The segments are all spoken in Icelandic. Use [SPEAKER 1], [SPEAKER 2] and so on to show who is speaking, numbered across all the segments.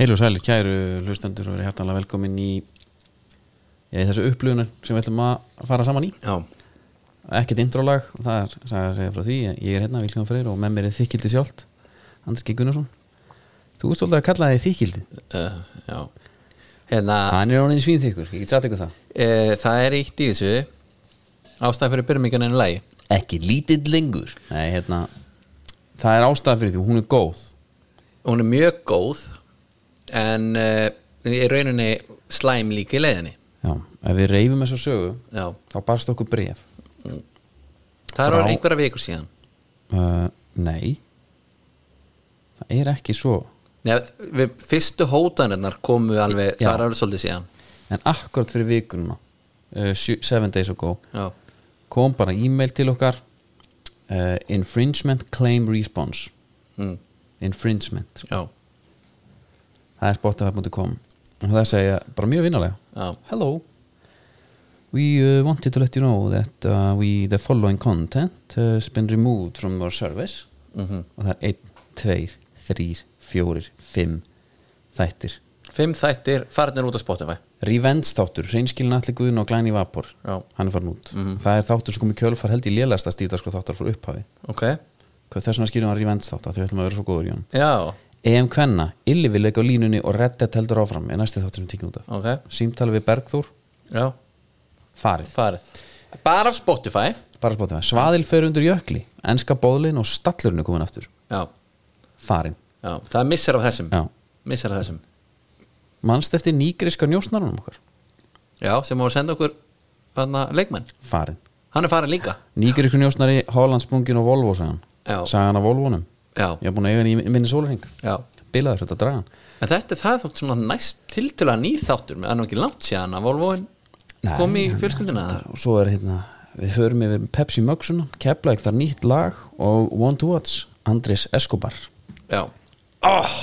[SPEAKER 1] Heil og sælir, kæru hlustendur og verið hjartanlega velkomin í, já, í þessu upplöðunar sem við ætlum að fara saman í
[SPEAKER 2] Já,
[SPEAKER 1] ekkert introlag og það er sagði að segja frá því ég er hérna Vilkjón Freyr og með mér er þykildi sjálft Andri G. Gunnarsson Þú ert svolítið að kalla þig þykildi
[SPEAKER 2] uh, já. Hérna,
[SPEAKER 1] Hann er orðin svínþykkur, ég get satt ykkur það
[SPEAKER 2] uh, það er eitt í þessu Ástæð fyrir byrmingan einu lagi
[SPEAKER 1] Ekki lítill lengur Nei, hérna, það er ástæða fyrir því, hún er góð
[SPEAKER 2] Hún er mjög góð En uh, í rauninni slæm líka í leiðinni
[SPEAKER 1] Já, ef við reyfum þessu sögu
[SPEAKER 2] Já,
[SPEAKER 1] þá barst okkur bref
[SPEAKER 2] það er
[SPEAKER 1] Frá-
[SPEAKER 2] orðið einhverja vikur síðan
[SPEAKER 1] uh, Nei Það er ekki svo
[SPEAKER 2] Nei, við fyrstu hótanirnar komu alveg,
[SPEAKER 1] Já.
[SPEAKER 2] það er alveg svolítið síðan
[SPEAKER 1] en akkurat fyrir vikununa uh, sjö- seven days ago
[SPEAKER 2] Já,
[SPEAKER 1] kom bara e-mail til okkar uh, infringement claim response
[SPEAKER 2] mm.
[SPEAKER 1] infringement,
[SPEAKER 2] já,
[SPEAKER 1] það er spotify.com og það segja bara mjög vinnalega
[SPEAKER 2] já,
[SPEAKER 1] hello we uh, wanted to let you know that uh, we, the following content has been removed from our service
[SPEAKER 2] mhm
[SPEAKER 1] og það er 1, 2, 3, 4 5 þættir
[SPEAKER 2] Fimm þættir, farnir út á Spotify
[SPEAKER 1] Revenge þáttur, reynskilin allir guðun og glæni vapor
[SPEAKER 2] Já.
[SPEAKER 1] hann er farin út það er þáttur sem kom í kjölfar held í lélasta stíðdagskrá þáttar frá upphafi
[SPEAKER 2] Ok,
[SPEAKER 1] Hvað- þess vegna skýrum hann Revenge þátt að þau ætlum að vera svo góður í hann
[SPEAKER 2] já,
[SPEAKER 1] EM Kvenna, Yllivileik á línunni og Reddit heldur áfram er næsti þáttur sem tíkn út af
[SPEAKER 2] ok,
[SPEAKER 1] símtali við Bergþór,
[SPEAKER 2] já,
[SPEAKER 1] farið
[SPEAKER 2] farið Bara af Spotify
[SPEAKER 1] bara spátum það, Svaðil fer undir jökli enska bóðlin og stallurinn er komin aftur
[SPEAKER 2] Já,
[SPEAKER 1] farin,
[SPEAKER 2] já, það er missar af þessum
[SPEAKER 1] já,
[SPEAKER 2] Missar af þessum
[SPEAKER 1] mannst eftir nýgriska njósnarunum okkar,
[SPEAKER 2] Já, sem voru að senda okkur hana, leikmenn,
[SPEAKER 1] farin
[SPEAKER 2] hann er farin líka
[SPEAKER 1] nýgriska njósnari, Hollandsbungin og Volvo sagan,
[SPEAKER 2] Já.
[SPEAKER 1] sagan af Volvonum
[SPEAKER 2] Já,
[SPEAKER 1] ég er búin að eiga hann í minni sólring
[SPEAKER 2] já
[SPEAKER 1] bilaður þetta dragan
[SPEAKER 2] En þetta það er þótt svona næst tiltöla nýþáttur með hann ekki langt síðan að Volvoin
[SPEAKER 1] Nei,
[SPEAKER 2] kom í fjölskylduna það
[SPEAKER 1] og svo er hérna við förum yfir Pepsi Mögsuna Keflæk þar nýtt lag og One to Watch Andrés Escobar
[SPEAKER 2] Já oh!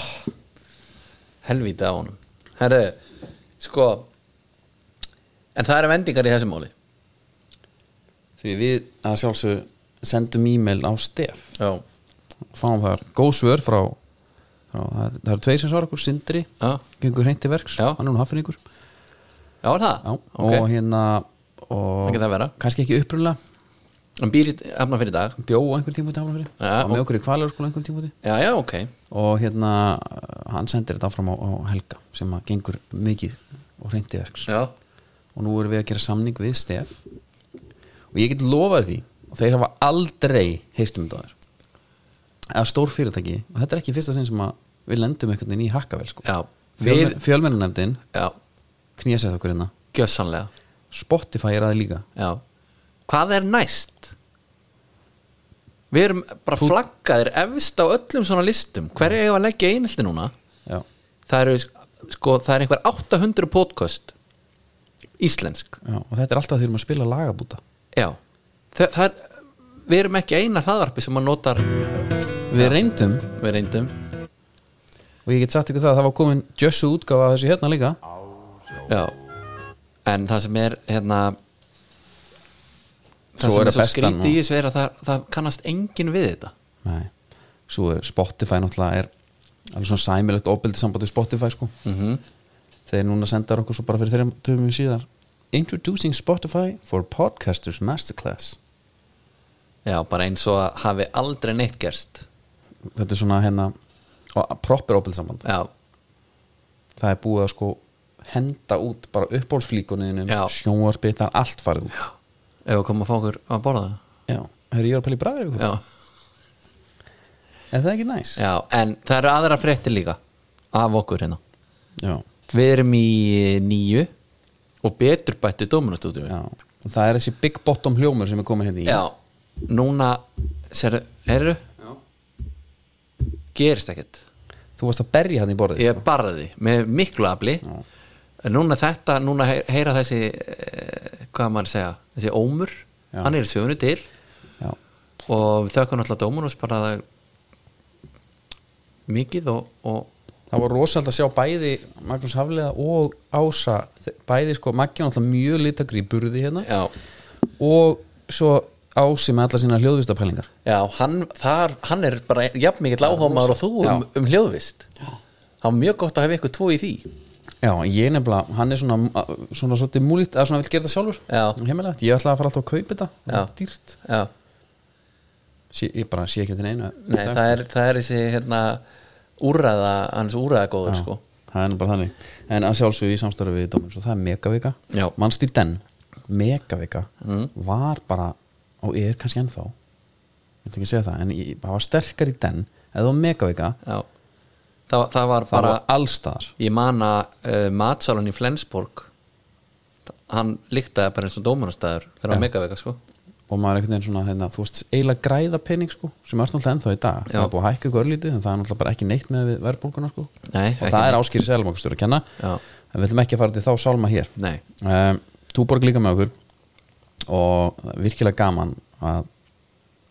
[SPEAKER 2] Helvíti á honum Herre, sko En það eru vendingar í þessu máli
[SPEAKER 1] því við að sjálfsög sendum e-mail á Stef
[SPEAKER 2] Já,
[SPEAKER 1] fáum þar góð svör frá, frá það, það eru tveir sem svara okkur Sindri,
[SPEAKER 2] já,
[SPEAKER 1] gengur hreint til verks
[SPEAKER 2] Já.
[SPEAKER 1] hann er nú haffinningur
[SPEAKER 2] já er það
[SPEAKER 1] Já,
[SPEAKER 2] ok,
[SPEAKER 1] og hérna
[SPEAKER 2] það
[SPEAKER 1] og
[SPEAKER 2] getur það vera
[SPEAKER 1] kannski ekki upprunlega
[SPEAKER 2] Hann býr í hafna fyrir dag
[SPEAKER 1] bjó á einhver tímúti áfram fyrir
[SPEAKER 2] Já,
[SPEAKER 1] og með okkur í kvalarskóla einhver tímúti
[SPEAKER 2] Já, já, ok
[SPEAKER 1] og hérna uh, hann sendir þetta áfram á, á Helga sem að gengur mikið og hreint til verks
[SPEAKER 2] Já,
[SPEAKER 1] og nú erum við að gera samning við Stef og ég get lofað því og þeir hafa aldrei heyrst um þetta áður. eða stór fyrirtæki og þetta er ekki fyrsta sinn sem að við lendum einhvern veginn í hakkavel sko.
[SPEAKER 2] já, við,
[SPEAKER 1] fjölmennarnefndin
[SPEAKER 2] já,
[SPEAKER 1] knésett okkur hérna
[SPEAKER 2] gjössanlega
[SPEAKER 1] Spotify er aðeins líka
[SPEAKER 2] Já Hvað er næst? Við erum bara flaggaðir efst á öllum svona listum Hverju eigum við að leggja einhelti núna?
[SPEAKER 1] Já.
[SPEAKER 2] Það eru sk- sko, það er einhver 800 podcast Íslensk
[SPEAKER 1] Já, og þetta er alltaf þegar við erum að spila lagabúta
[SPEAKER 2] Já Þa, Það er, við erum ekki eina hlaðarpi sem að notar
[SPEAKER 1] við reyndum
[SPEAKER 2] Við reyndum
[SPEAKER 1] og ég get sagt ykkur það að það var komin Jössu útgáfa af þessu hérna líka
[SPEAKER 2] Já En það sem er hérna
[SPEAKER 1] Svo
[SPEAKER 2] Það sem
[SPEAKER 1] er
[SPEAKER 2] er
[SPEAKER 1] að
[SPEAKER 2] svo
[SPEAKER 1] besta
[SPEAKER 2] skrítið
[SPEAKER 1] nú.
[SPEAKER 2] í þessu er að það, það kannast enginn við þetta
[SPEAKER 1] Nei. svo er Spotify náttúrulega er alveg svona sæmilegt opildið samband við Spotify sko
[SPEAKER 2] mm
[SPEAKER 1] þeir núna sendar okkur svo bara fyrir þeirra töfum við síðar Introducing Spotify for Podcasters Masterclass
[SPEAKER 2] Já, bara eins og að hafi aldrei neitt gerst
[SPEAKER 1] þetta er svona hérna og proper opilsamband
[SPEAKER 2] Já,
[SPEAKER 1] það er búið að sko henda út bara uppbólsflíkunniðinum
[SPEAKER 2] Já.
[SPEAKER 1] sjónvarpið, það er allt farið út
[SPEAKER 2] ef við komum að fá okkur að borða það
[SPEAKER 1] já, hefur ég er að pæla í bræðir ykkur
[SPEAKER 2] já.
[SPEAKER 1] er það ekki næs?
[SPEAKER 2] já, en það eru aðra fréttir líka af okkur hérna
[SPEAKER 1] já,
[SPEAKER 2] við erum í nýju og betur bættu dómunastúdíu
[SPEAKER 1] já. Og það er þessi big bottom hljómur sem er komin hérna í
[SPEAKER 2] já, núna serðu, heyrðu gerist ekkert
[SPEAKER 1] þú varst að berja hann í borðið
[SPEAKER 2] ég barði með miklu afli
[SPEAKER 1] Já.
[SPEAKER 2] En núna þetta, núna hey- heyra þessi eh, hvað á maður að segja, þessi ómur
[SPEAKER 1] Já.
[SPEAKER 2] hann er í sögunu til
[SPEAKER 1] Já.
[SPEAKER 2] og við þökkum alltaf dómunus bara það mikið og, og
[SPEAKER 1] það var rosalega að sjá bæði Magnús Hafliða og Ása bæði sko, Maggi var náttúrulega mjög litakri í burði hérna
[SPEAKER 2] já,
[SPEAKER 1] og svo Ási með alla sína hljóðvistapælingar
[SPEAKER 2] Já, hann, þar, hann er bara jafn mikill áhámaður og þú um, um hljóðvist það var mjög gott að hafa ykkur tvo í því
[SPEAKER 1] Já, en ég nefnilega, hann er svona svona, svona svolítið múlít, að svona vill gera þetta sjálfur
[SPEAKER 2] Já.
[SPEAKER 1] Heimilegt, ég ætla að fara alltaf að kaupa þetta
[SPEAKER 2] Já.
[SPEAKER 1] Það er Dýrt,
[SPEAKER 2] já,
[SPEAKER 1] sé, ég bara sé ekki þetta neina
[SPEAKER 2] nei, það er, það er þessi hérna úrraða, hans úrraða góður sko
[SPEAKER 1] Það er nú bara þannig En að sjálfsögðu í samstarfi við dómur Svo það er megavika
[SPEAKER 2] Já. Mm.
[SPEAKER 1] Manstýr den Megavika Var bara Og er kannski ennþá Ég ætla ekki að segja það En ég, það var sterkar í den Eða var megavika
[SPEAKER 2] já, það, það var
[SPEAKER 1] Það
[SPEAKER 2] bara
[SPEAKER 1] var allstaðar
[SPEAKER 2] ég man að uh, matsalun í Flensborg hann líktaði bara eins og dómarastæður þegar hann var megavega sko
[SPEAKER 1] Og maður er einhvern veginn svona hérna, Þú veist eiginlega græða pening sko Sem er náttúrulega ennþá í dag
[SPEAKER 2] Já.
[SPEAKER 1] Það er búið að hækka ykkur örlítið En það er náttúrulega bara ekki neitt með við verðbólguna sko
[SPEAKER 2] Nei,
[SPEAKER 1] Og
[SPEAKER 2] ekki
[SPEAKER 1] það er áskýri sælumokastur að kenna
[SPEAKER 2] Já.
[SPEAKER 1] En við ætlum ekki að fara til þá sálma hér
[SPEAKER 2] nei,
[SPEAKER 1] um, Túborg líka með okkur og það er virkilega gaman að,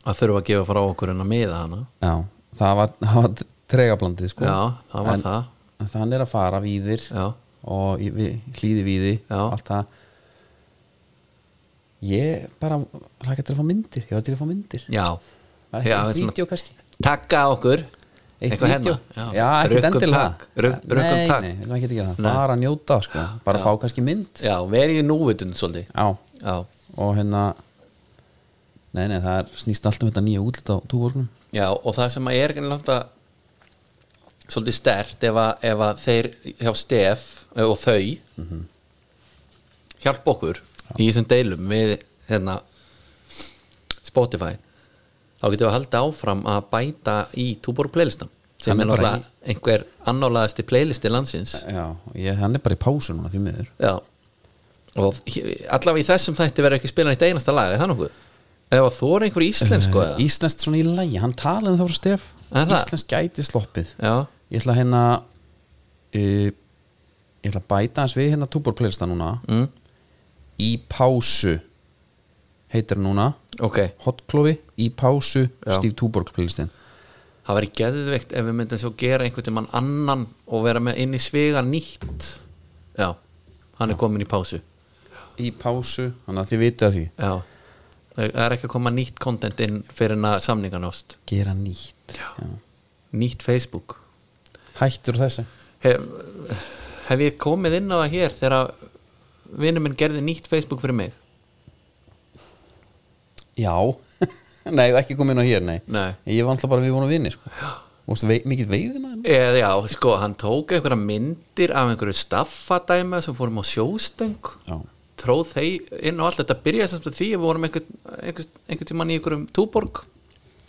[SPEAKER 2] að þurfa að gefa frá okkur en að miða hana
[SPEAKER 1] já, það var, það var tregablandið sko
[SPEAKER 2] já, það var
[SPEAKER 1] en,
[SPEAKER 2] það
[SPEAKER 1] en þannig er að fara víðir
[SPEAKER 2] já,
[SPEAKER 1] og í- við- hlýði víði
[SPEAKER 2] Já.
[SPEAKER 1] allt það ég bara hlaka til að fá myndir ég var til að fá myndir
[SPEAKER 2] já,
[SPEAKER 1] bara
[SPEAKER 2] Já,
[SPEAKER 1] eitthvað
[SPEAKER 2] við svona-
[SPEAKER 1] vídeo kannski
[SPEAKER 2] takka okkur
[SPEAKER 1] Eitt
[SPEAKER 2] Eitthvað
[SPEAKER 1] vídeo?
[SPEAKER 2] hérna,
[SPEAKER 1] já, ekkert
[SPEAKER 2] Rukkum
[SPEAKER 1] endilega
[SPEAKER 2] takk, ruk- rukkum
[SPEAKER 1] Nei,
[SPEAKER 2] takk.
[SPEAKER 1] nei, við ætlum ekki að gera það.
[SPEAKER 2] Nei.
[SPEAKER 1] bara að njóta sko. bara fá kannski mynd
[SPEAKER 2] já, verið í núvitund svolítið
[SPEAKER 1] já,
[SPEAKER 2] já,
[SPEAKER 1] og hérna nei, nei, það er, snýst allt um þetta nýja útlut á túborgunum
[SPEAKER 2] já, og það sem er langt að svolítið stert ef að, ef að þeir hjá stef eh, og þau
[SPEAKER 1] Mhm.
[SPEAKER 2] hjálpa okkur í þessum deilum við hérna Spotify þá getum við að halda áfram að bæta í Tuborg playlistan sem
[SPEAKER 1] Hann
[SPEAKER 2] er
[SPEAKER 1] er bara
[SPEAKER 2] náttúrulega einhver annálaðasti playlisti landsins
[SPEAKER 1] Já, ég, hann er bara í pásu núna því miður
[SPEAKER 2] Já og hér- allavega í þessum þætti verður ekki spila eitt einasta lag, er það nokkuð? Eða þú er einhver íslensku eða?
[SPEAKER 1] Sko, Íslenskt svona Eh, í lægi, hann talaði um það frá Stef
[SPEAKER 2] Er það?
[SPEAKER 1] Íslenskt gæti sloppið
[SPEAKER 2] Já,
[SPEAKER 1] Ég ætla hérna uh, Ég ætla að bæta hans við hérna Túbor playlista núna
[SPEAKER 2] mm,
[SPEAKER 1] Í pásu heitir hann núna
[SPEAKER 2] ok
[SPEAKER 1] Hotklofi, í pásu,
[SPEAKER 2] Já.
[SPEAKER 1] Stíf Túborg playlistin
[SPEAKER 2] Það væri geðveikt ef við myndum svo gera einhvern tímann annan og vera með inn í svega nýtt Já, hann er komin í pásu
[SPEAKER 1] Í pásu, þannig að þið vitið að því
[SPEAKER 2] Já, það er ekki að koma nýtt content inn fyrir en að samningan ást
[SPEAKER 1] Gera nýtt
[SPEAKER 2] Já. Nýtt Facebook
[SPEAKER 1] Hættur þessi
[SPEAKER 2] hef, hef ég komið inn á það hér þegar vinnum minn gerði nýtt Facebook fyrir mig?
[SPEAKER 1] Já, nei, ekki komin á hér, nei
[SPEAKER 2] Nei
[SPEAKER 1] Ég var alltaf bara við vonum vinnir sko. Og vei, mikið veiðina hérna
[SPEAKER 2] Eða já, sko, hann tók einhverja myndir af einhverju staffadæma sem fórum á sjóstöng
[SPEAKER 1] Já,
[SPEAKER 2] tróð þeir inn á allt þetta byrjaði samt að því að við vorum einhvern einhver, einhver tímann í einhverjum túborg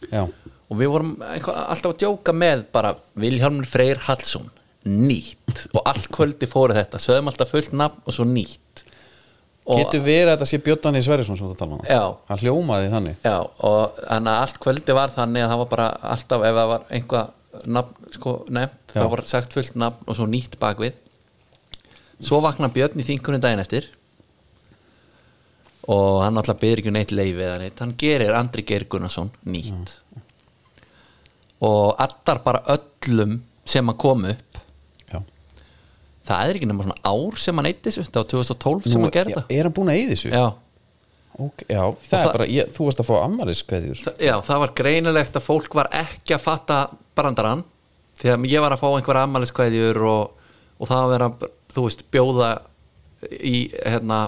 [SPEAKER 1] já
[SPEAKER 2] og við vorum einhver, alltaf að djóka með bara Vilhjálmur Freyr Hallsson nýtt og allt kvöldi fóru þetta sögðum alltaf fullt nafn og svo nýtt og,
[SPEAKER 1] Getur verið að þetta sé Björn í Sverrisson sem þú ert að tala um það?
[SPEAKER 2] Já.
[SPEAKER 1] Hann hljómaði þannig
[SPEAKER 2] Já, og þannig að allt kvöldi var þannig að það var bara alltaf ef það var einhvað nafn, sko, nefnt
[SPEAKER 1] Já.
[SPEAKER 2] það var sagt fullt nafn og svo nýtt bakvið svo vakna Björn í þingunum daginn eftir og hann alltaf byrður ekki um neitt leið eða neitt, hann gerir Andri Geir Gunnarsson nýtt og allar bara öllum sem að koma upp
[SPEAKER 1] Já.
[SPEAKER 2] það er ekki nema svona ár sem hann eitt þessu, þetta var 2012 sem
[SPEAKER 1] Nú,
[SPEAKER 2] hann gerði
[SPEAKER 1] já,
[SPEAKER 2] þetta
[SPEAKER 1] Er hann búin að eyði þessu?
[SPEAKER 2] Já,
[SPEAKER 1] Ok, já, það
[SPEAKER 2] það-
[SPEAKER 1] er bara, ég, þú varst að fá ammaliskveðjur
[SPEAKER 2] Þa- Já, það var greinilegt að fólk var ekki að fatta brandarann því að ég var að fá einhverja ammæliskveðjur og, og það að vera, þú veist, bjóða í, hérna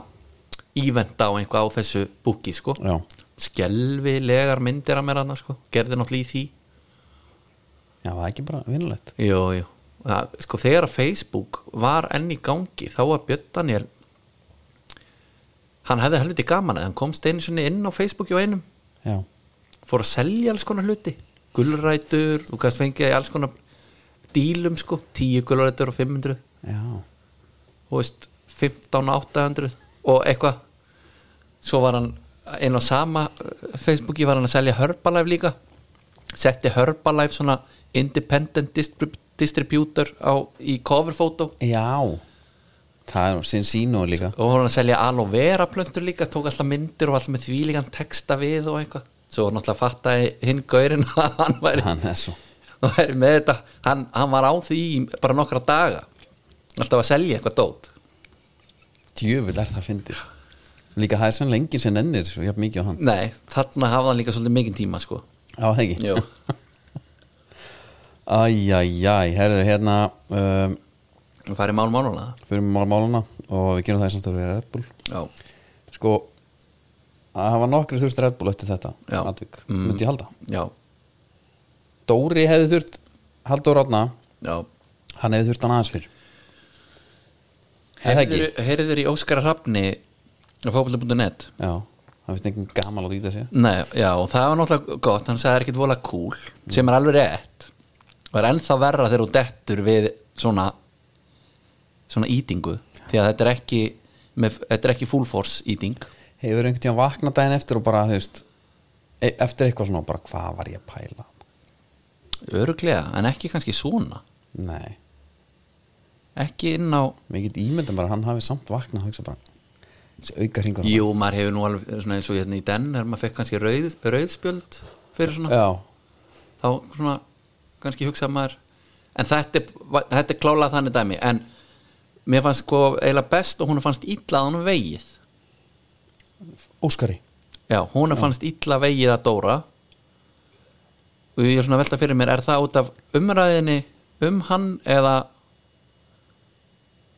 [SPEAKER 2] ívenda á einhvað á þessu búki, sko
[SPEAKER 1] Já,
[SPEAKER 2] skelvilegar myndir að mér annars, sko gerði náttúrulega í því
[SPEAKER 1] já, það er ekki bara vinnulegt
[SPEAKER 2] Jú, jú það, Sko þegar að Facebook var enn í gangi þá var Björn Daniel hann hefði helviti gaman að hann komst einu sinni inn á Facebooki á einum
[SPEAKER 1] Já,
[SPEAKER 2] fór að selja alls konar hluti gulrætur, þú kannst fengið í alls konar dílum sko, 10 gulrætur og 500,
[SPEAKER 1] já,
[SPEAKER 2] þú veist 15, 800 og eitthvað svo var hann inn á sama eh, Facebooki var hann að selja Herbalife líka setti Herbalife svona independent distrib distributor á, í coverfoto
[SPEAKER 1] já Það er sinn sínu líka
[SPEAKER 2] og voru hann að selja aloe vera plöntur líka tók alltaf myndir og alltaf með þvílíkan texta við og eitthvað svo náttúrulega fattaði hinn gaurinn að hann væri
[SPEAKER 1] Hann er svo
[SPEAKER 2] og væri með þetta hann, hann var á því í bara nokkra daga alltaf að selja eitthvað dót
[SPEAKER 1] Djöfull er það fyndið Líka það er sann lengi sem ennir svo jafn mikið á hann
[SPEAKER 2] nei, þarna hafði hann líka svolítið mikinn tíma sko
[SPEAKER 1] Já, það ekki
[SPEAKER 2] Jú.
[SPEAKER 1] Æjæjæ, herðu hérna um,
[SPEAKER 2] Við farið mál máluna
[SPEAKER 1] fyrir mál máluna og við gerum það í samstæðu við Red Bull
[SPEAKER 2] Já,
[SPEAKER 1] sko það hafa nokkri þurft Red Bull eftir þetta
[SPEAKER 2] Já.
[SPEAKER 1] atvik,
[SPEAKER 2] Mm.
[SPEAKER 1] myndi ég halda
[SPEAKER 2] já,
[SPEAKER 1] Dóri hefði þurft Haldur Rána,
[SPEAKER 2] já
[SPEAKER 1] hann hefði þurft hann aðeins fyrr Er það ekki?
[SPEAKER 2] Heyrður- Heyrður í Óskar Hrafni á fókbalta.net
[SPEAKER 1] Já, það finnst enginn gaman að dýta sér
[SPEAKER 2] Nei, já, og það var náttúrulega gott hann sagði ekkert vola cool, sem er alveg rétt og er ennþá verra þegar þú dettur við svona svona ítingu, því að þetta er ekki með, þetta er ekki full force íting
[SPEAKER 1] Hefur einhvern tíðan vaknað daginn eftir og bara, þú veist e eftir eitthvað svona, bara hvað var ég að pæla
[SPEAKER 2] öruglega, en ekki kannski svona
[SPEAKER 1] Nei,
[SPEAKER 2] ekki inn á,
[SPEAKER 1] mér get ímyndum bara að hann hafi samt vaknað og hugsa bara, þessi auka hringur
[SPEAKER 2] jú, maður hefur nú alveg svona eins og hérna í den, þegar maður fekk kannski rauð, rauðspjöld fyrir svona
[SPEAKER 1] Já,
[SPEAKER 2] þá svona kannski hugsa maður en þetta, er- þetta er klálað þannig dæmi en mér fannst sko eiginlega best og hún fannst illa að hún vegið
[SPEAKER 1] Óskari
[SPEAKER 2] já, hún fannst illa vegið að Dóra og ég er svona að velta fyrir mér er það út af umræðinni um hann eða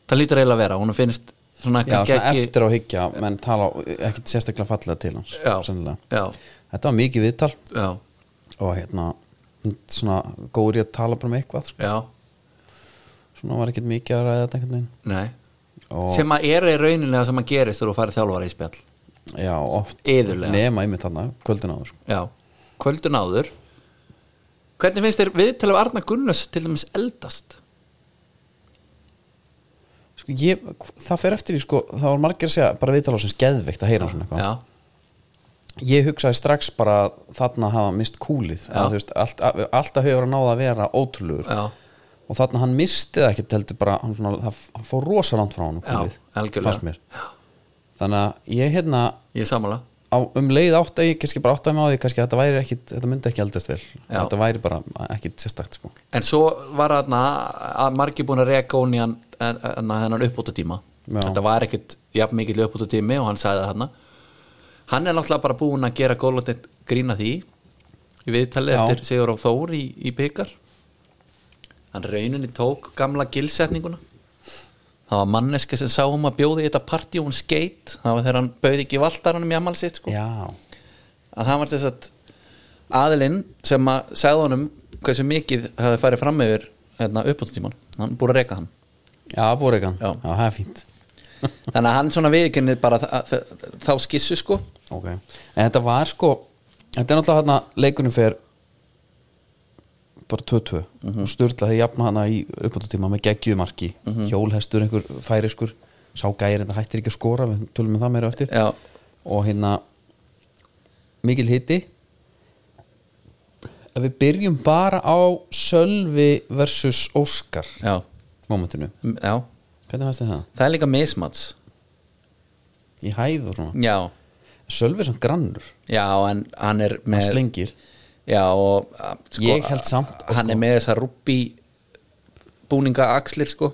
[SPEAKER 2] það lítur eiginlega að vera hún finnst svona
[SPEAKER 1] Já,
[SPEAKER 2] kannski
[SPEAKER 1] svona
[SPEAKER 2] ekki
[SPEAKER 1] eftir á hyggja, menn tala ekkit sérstaklega fallega til hans
[SPEAKER 2] Já.
[SPEAKER 1] sennilega.
[SPEAKER 2] já,
[SPEAKER 1] Þetta var mikið viðtal
[SPEAKER 2] já,
[SPEAKER 1] og hérna, hún svona góður í að tala bara um eitthvað, sko.
[SPEAKER 2] já,
[SPEAKER 1] svona var ekkit mikið að ræða þetta einhvern veginn
[SPEAKER 2] nei
[SPEAKER 1] og
[SPEAKER 2] sem að er í rauninlega sem að gerist þegar þú farið þjálfara í spjall
[SPEAKER 1] já, oft
[SPEAKER 2] Iðulega.
[SPEAKER 1] nema einmitt þarna, kvöldin áður sko.
[SPEAKER 2] Já, kvöldun áður Hvernig finnst þér viðtal af Arna Gunnars til dæmis eldast?
[SPEAKER 1] Sko, ég, það fer eftir því, sko, það var margir að segja bara viðtala á sem skeðveikt að heyra svona eitthvað
[SPEAKER 2] Já,
[SPEAKER 1] ég hugsaði strax bara að þarna hafa mist kúlið
[SPEAKER 2] Já.
[SPEAKER 1] að, þú veist, allt, að, alltaf hefur hann náð að vera ótrúlegur
[SPEAKER 2] já,
[SPEAKER 1] og þarna hann mistið ekkert heldur bara, hann, svona, það, hann fór rosa langt frá hann
[SPEAKER 2] Já, algjörlega.
[SPEAKER 1] fannst mér þannig að ég hérna
[SPEAKER 2] ég er sammála
[SPEAKER 1] á, um leið átt að ég kannski bara átt að með á því kannski að þetta væri ekkit, þetta myndi ekki eldast vel
[SPEAKER 2] Já.
[SPEAKER 1] þetta væri bara ekkit sérstakt sko.
[SPEAKER 2] En svo var þarna að margir búin að reka hún í hann en- en- hennan uppbúta tíma
[SPEAKER 1] Já.
[SPEAKER 2] Þetta var ekkit jafn mikill uppbúta tími og hann sagði það hann Hann er náttúrulega bara búin að gera góðlótið grína því í viðtalið
[SPEAKER 1] Já.
[SPEAKER 2] eftir Sigur á Þór í, í byggar Hann rauninni tók gamla gilsetninguna Það var manneska sem sá um að bjóði í þetta partí og hún skeitt Það var þegar hann bauði ekki valdaranum í amal sitt sko
[SPEAKER 1] já,
[SPEAKER 2] að hann var þess að aðilinn sem að segða honum hversu mikið hafði farið fram yfir hérna, uppbúttíman, hann búið að reka hann
[SPEAKER 1] já, búreikann
[SPEAKER 2] Já.
[SPEAKER 1] já. það er fínt
[SPEAKER 2] þannig að hann svona viðkennið bara þ- að þ- þá skissu sko
[SPEAKER 1] ok, en þetta var sko þetta er náttúrulega hérna leikunum fer bara 2-2
[SPEAKER 2] Mhm.
[SPEAKER 1] og styrla þegar jafna hana í uppbúttatíma með geggjumarki,
[SPEAKER 2] Mhm.
[SPEAKER 1] hjólhestur einhver færiskur, sá gæri þetta hættir ekki að skora, við tölum við það meira á eftir
[SPEAKER 2] já,
[SPEAKER 1] og hérna mikil hitti ef við byrjum bara á Sölvi versus Óskar
[SPEAKER 2] já,
[SPEAKER 1] momentinu,
[SPEAKER 2] m- já
[SPEAKER 1] hvernig fannst þið það?
[SPEAKER 2] það er líka mismats
[SPEAKER 1] Í hæð og svona
[SPEAKER 2] já,
[SPEAKER 1] Sölvi er svona grannur,
[SPEAKER 2] já, en hann er
[SPEAKER 1] hann
[SPEAKER 2] með
[SPEAKER 1] slengir
[SPEAKER 2] já, og a- sko,
[SPEAKER 1] Ég held samt, sko.
[SPEAKER 2] hann er með þessa rúbbi búninga axlir sko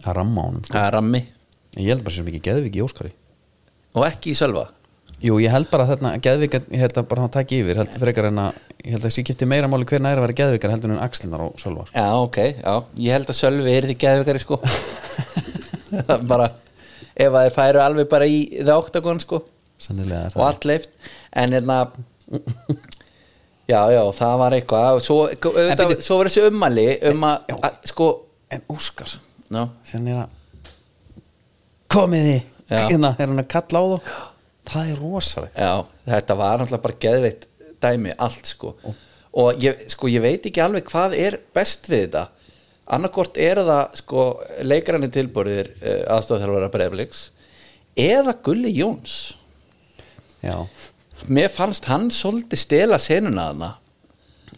[SPEAKER 1] það ramma á honum
[SPEAKER 2] það er rammi
[SPEAKER 1] En Ég held bara sem ekki Geðvik í Óskari
[SPEAKER 2] og ekki í sölva
[SPEAKER 1] Jú, ég held bara að þarna Geðvik, ég held að bara hann takki yfir held frekar en að, ég held að þessi skipti meira máli hver næra að vera Geðvikar heldur en Axlinar og Sölvar
[SPEAKER 2] Já, ok, já, ég held að Sölvi er því geðvikari sko Það er bara, ef að þeir færu alveg bara í það oktagon sko
[SPEAKER 1] Sennilega er
[SPEAKER 2] og allt leift, en hérna já, já, það var eitthvað og svo, auðvitað,
[SPEAKER 1] bíddu.
[SPEAKER 2] svo var þessi ummæli um að,
[SPEAKER 1] Já.
[SPEAKER 2] að- sko
[SPEAKER 1] En Óskar,
[SPEAKER 2] no.
[SPEAKER 1] þegar hann er að komiði
[SPEAKER 2] Já.
[SPEAKER 1] hérna, er hann að kalla á þá það er rosaleg
[SPEAKER 2] Já, þetta var náttúrulega bara geðveitt dæmi allt sko og ég, sko, ég veit ekki alveg hvað er best við þetta annarkort er það sko leikarani tilbúrðir uh, aðstofþjálfara breyfleiks eða Gulli Jóns
[SPEAKER 1] Já,
[SPEAKER 2] mér fannst hann svolítið stela senuna þarna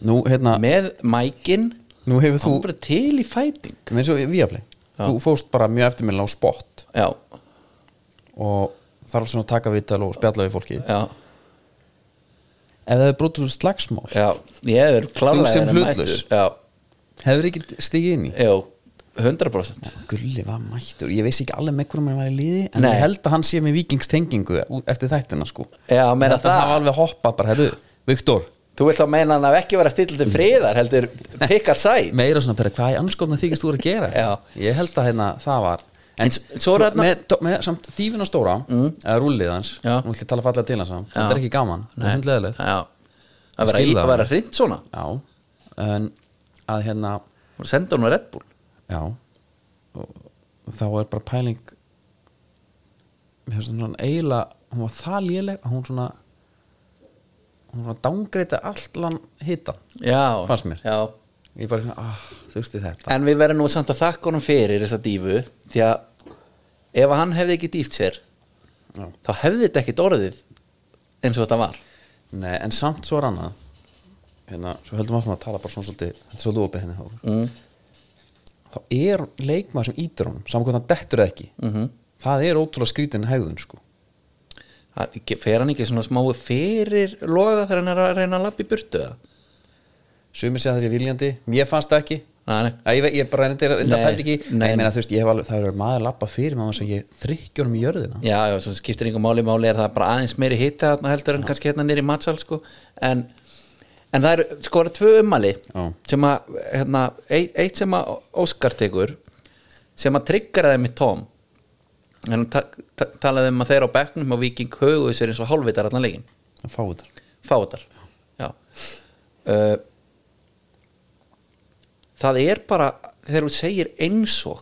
[SPEAKER 1] nú hérna,
[SPEAKER 2] með mækin
[SPEAKER 1] nú hefur þú
[SPEAKER 2] hann bara til í fæting
[SPEAKER 1] eins og viðafli,
[SPEAKER 2] Já.
[SPEAKER 1] þú fóst bara mjög eftirmilna á spott
[SPEAKER 2] já,
[SPEAKER 1] og þarf svona að taka vital og spjalla við fólki
[SPEAKER 2] já,
[SPEAKER 1] Ef það er brotur úr slagsmál
[SPEAKER 2] já ég hefur
[SPEAKER 1] Þú
[SPEAKER 2] klálega
[SPEAKER 1] sem
[SPEAKER 2] verið
[SPEAKER 1] hlutlaus.
[SPEAKER 2] mættur. já,
[SPEAKER 1] hefur ekki stigið inn í
[SPEAKER 2] já, 100%
[SPEAKER 1] Gulli var mættur, ég veist ekki alveg með hverjum hann var í liði en
[SPEAKER 2] Nei.
[SPEAKER 1] ég held að hann sé með vikingstengingu út- eftir þættina sko
[SPEAKER 2] Já,
[SPEAKER 1] Ég
[SPEAKER 2] meira
[SPEAKER 1] held að
[SPEAKER 2] það.
[SPEAKER 1] hann hafa alveg hoppað bara, herru, Viktor
[SPEAKER 2] Þú vilt þá meina hann að ekki vera stillt til friðar heldur pick a side
[SPEAKER 1] meira svona bara hvað í anskofna þykist þú er að gera
[SPEAKER 2] Já.
[SPEAKER 1] ég held að hérna það var en,
[SPEAKER 2] En s- svo er þarna- Mm.
[SPEAKER 1] með, með samt dífin og stóra eða rúllið hans,
[SPEAKER 2] Já.
[SPEAKER 1] nú ætlum ég að tala fallega til hans samt, þetta er ekki gaman, það er hundleðilegt
[SPEAKER 2] Já. að vera,
[SPEAKER 1] Skil
[SPEAKER 2] í-
[SPEAKER 1] það.
[SPEAKER 2] að vera hrind svona
[SPEAKER 1] já, en að hérna
[SPEAKER 2] og senda hún að Red Bull
[SPEAKER 1] já og, þá er bara pæling mér finnst hún svona eiginlega hún var það léleg að hún svona hún var að dángreita allan hitan
[SPEAKER 2] Já,
[SPEAKER 1] Fannst mér.
[SPEAKER 2] já.
[SPEAKER 1] ég bara, svona, ah, þurfti þetta
[SPEAKER 2] En við verðum nú samt að þakka honum fyrir þessa dífu því að ef hann hefði ekki dýft sér
[SPEAKER 1] Já.
[SPEAKER 2] þá hefði þetta ekki orðið eins og þetta var
[SPEAKER 1] Nei, en samt svo er annað hérna, svo höldum áfram að tala bara svona svolítið þetta er svolítið opið henni þá
[SPEAKER 2] mm.
[SPEAKER 1] þá er leikmaður sem ítur honum saman hvort hann dettur eða ekki
[SPEAKER 2] Mhm.
[SPEAKER 1] -hmm. það er ótrúlega skrítin hegðun sko
[SPEAKER 2] Það er ekki- Fer hann ekki svona smáu fyrir loga þegar hann er að reyna að lappa í burtu eða?
[SPEAKER 1] sumir segja þessi viljandi, mér fannst það ekki
[SPEAKER 2] Nei, nei.
[SPEAKER 1] Æ, ég, veit- ég bara reyndi reyndi að
[SPEAKER 2] Nei,
[SPEAKER 1] pæla ekki
[SPEAKER 2] nei,
[SPEAKER 1] nei, ég meina, þú veist, ég hef alveg, það eru maður lappa fyrir maður sem ég þrykkjur um í jörðina
[SPEAKER 2] Já, já, svo skiptir yngur máli máli er það bara aðeins meiri hita þarna heldur en kannski hérna nýri matsal sko. en, en það er sko það eru tvö ummali
[SPEAKER 1] Já.
[SPEAKER 2] sem að hérna, eitt, eitt sem að Óskar tekur sem að triggera þeim í tóm en hann ta ta talaði um að þeir á bekknum og viking höguðu sér eins og hálfvitar allan leikinn
[SPEAKER 1] að fá þetta
[SPEAKER 2] fáðar já uh, það er bara þegar þú segir eins og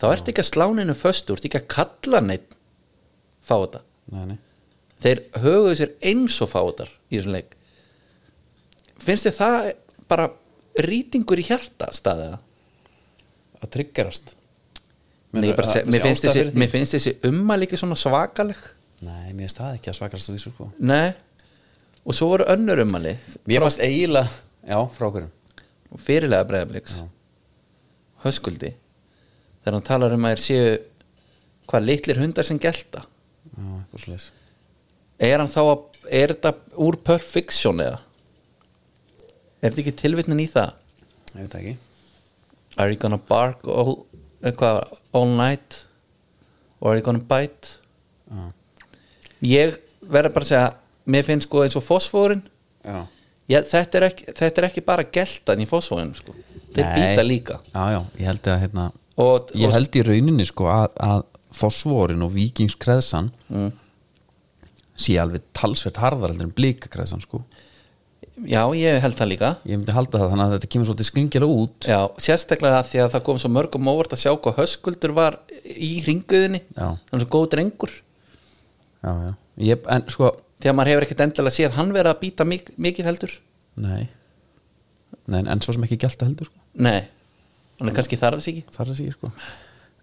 [SPEAKER 2] þá ertu ekki að sláninu föstu, þú ert ekki að kalla neitt fáðar
[SPEAKER 1] nei, nei.
[SPEAKER 2] þeir höguðu sér eins og fáðar í þessum leik finnst þið það bara rýtingur í hjarta staðið
[SPEAKER 1] að tryggjarast
[SPEAKER 2] Nei, ég bara seg, mér, finnst þessi, mér finnst þessi umma líka svona svakaleg
[SPEAKER 1] nei, mér finnst það ekki að svakast þú vísu sko
[SPEAKER 2] Nei, og svo voru önnur ummali
[SPEAKER 1] mér fannst eiginlega, já, frá hverjum
[SPEAKER 2] fyrirlega breyðabliks höskuldi þegar hann talar um að þér séu hvað litlir hundar sem gelta
[SPEAKER 1] já, eitthvað slags
[SPEAKER 2] er hann þá að, er þetta úr perfection eða er þetta ekki tilvitnin í það
[SPEAKER 1] ég veit það ekki
[SPEAKER 2] are you gonna bark all, eh, hvað, var, all night or are you gonna bite
[SPEAKER 1] já,
[SPEAKER 2] ég verður bara að segja mér finnst sko eins og fósfórin
[SPEAKER 1] já,
[SPEAKER 2] ég, þetta, er ekki, þetta er ekki bara geltan í fósfórin sko. þeir
[SPEAKER 1] Nei.
[SPEAKER 2] býta líka
[SPEAKER 1] já, já, ég held að hérna
[SPEAKER 2] og,
[SPEAKER 1] ég
[SPEAKER 2] og
[SPEAKER 1] held í rauninni sko að, að fosvorin og vikingskreðsan
[SPEAKER 2] Mm.
[SPEAKER 1] sé alveg talsvert harðar heldur en blíkakreðsan sko
[SPEAKER 2] já ég held það líka
[SPEAKER 1] ég myndi halda það þannig að þetta kemur svolítið skringilega út
[SPEAKER 2] Já, sérstaklega því að það kom svo mörgum óvart að sjá hvað höskuldur var í ringuðinni
[SPEAKER 1] Já.
[SPEAKER 2] hann er svo góð drengur
[SPEAKER 1] já, já, ég, en sko
[SPEAKER 2] því að maður hefur ekkert endilega séð hann verið að býta mik mikið heldur
[SPEAKER 1] nei, nei en svo sem ekki gælt að heldur sko
[SPEAKER 2] Nei, hann er kannski þarfis ekki
[SPEAKER 1] þar er sér sko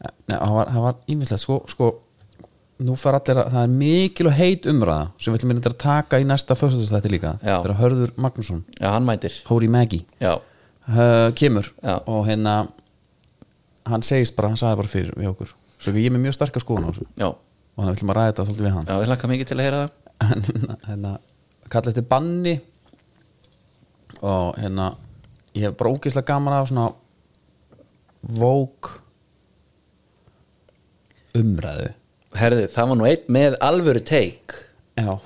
[SPEAKER 1] Nei, það var, það var ímislegt sko, sko, nú fara allir að það er mikil og heit umræða sem við ætlum að taka í næsta föstudagstætti líka
[SPEAKER 2] Já.
[SPEAKER 1] þegar Hörður Magnússon,
[SPEAKER 2] Já, hann mætir
[SPEAKER 1] Hóri Maggi
[SPEAKER 2] Já,
[SPEAKER 1] uh, kemur
[SPEAKER 2] Já.
[SPEAKER 1] og hérna hann segist bara, hann sagði bara fyrir við okkur svo ég er með mjög starka skoðun á þessu
[SPEAKER 2] já,
[SPEAKER 1] og hann vill maður ræða þetta svolítið við hann
[SPEAKER 2] já, ég hlakka mikið til að heyra það
[SPEAKER 1] en hérna- hérna kalla eftir banni og hérna ég hef bara ógeðslega gaman af svona vók umræðu
[SPEAKER 2] Herðu, það var nú einn með alvöru teik
[SPEAKER 1] já,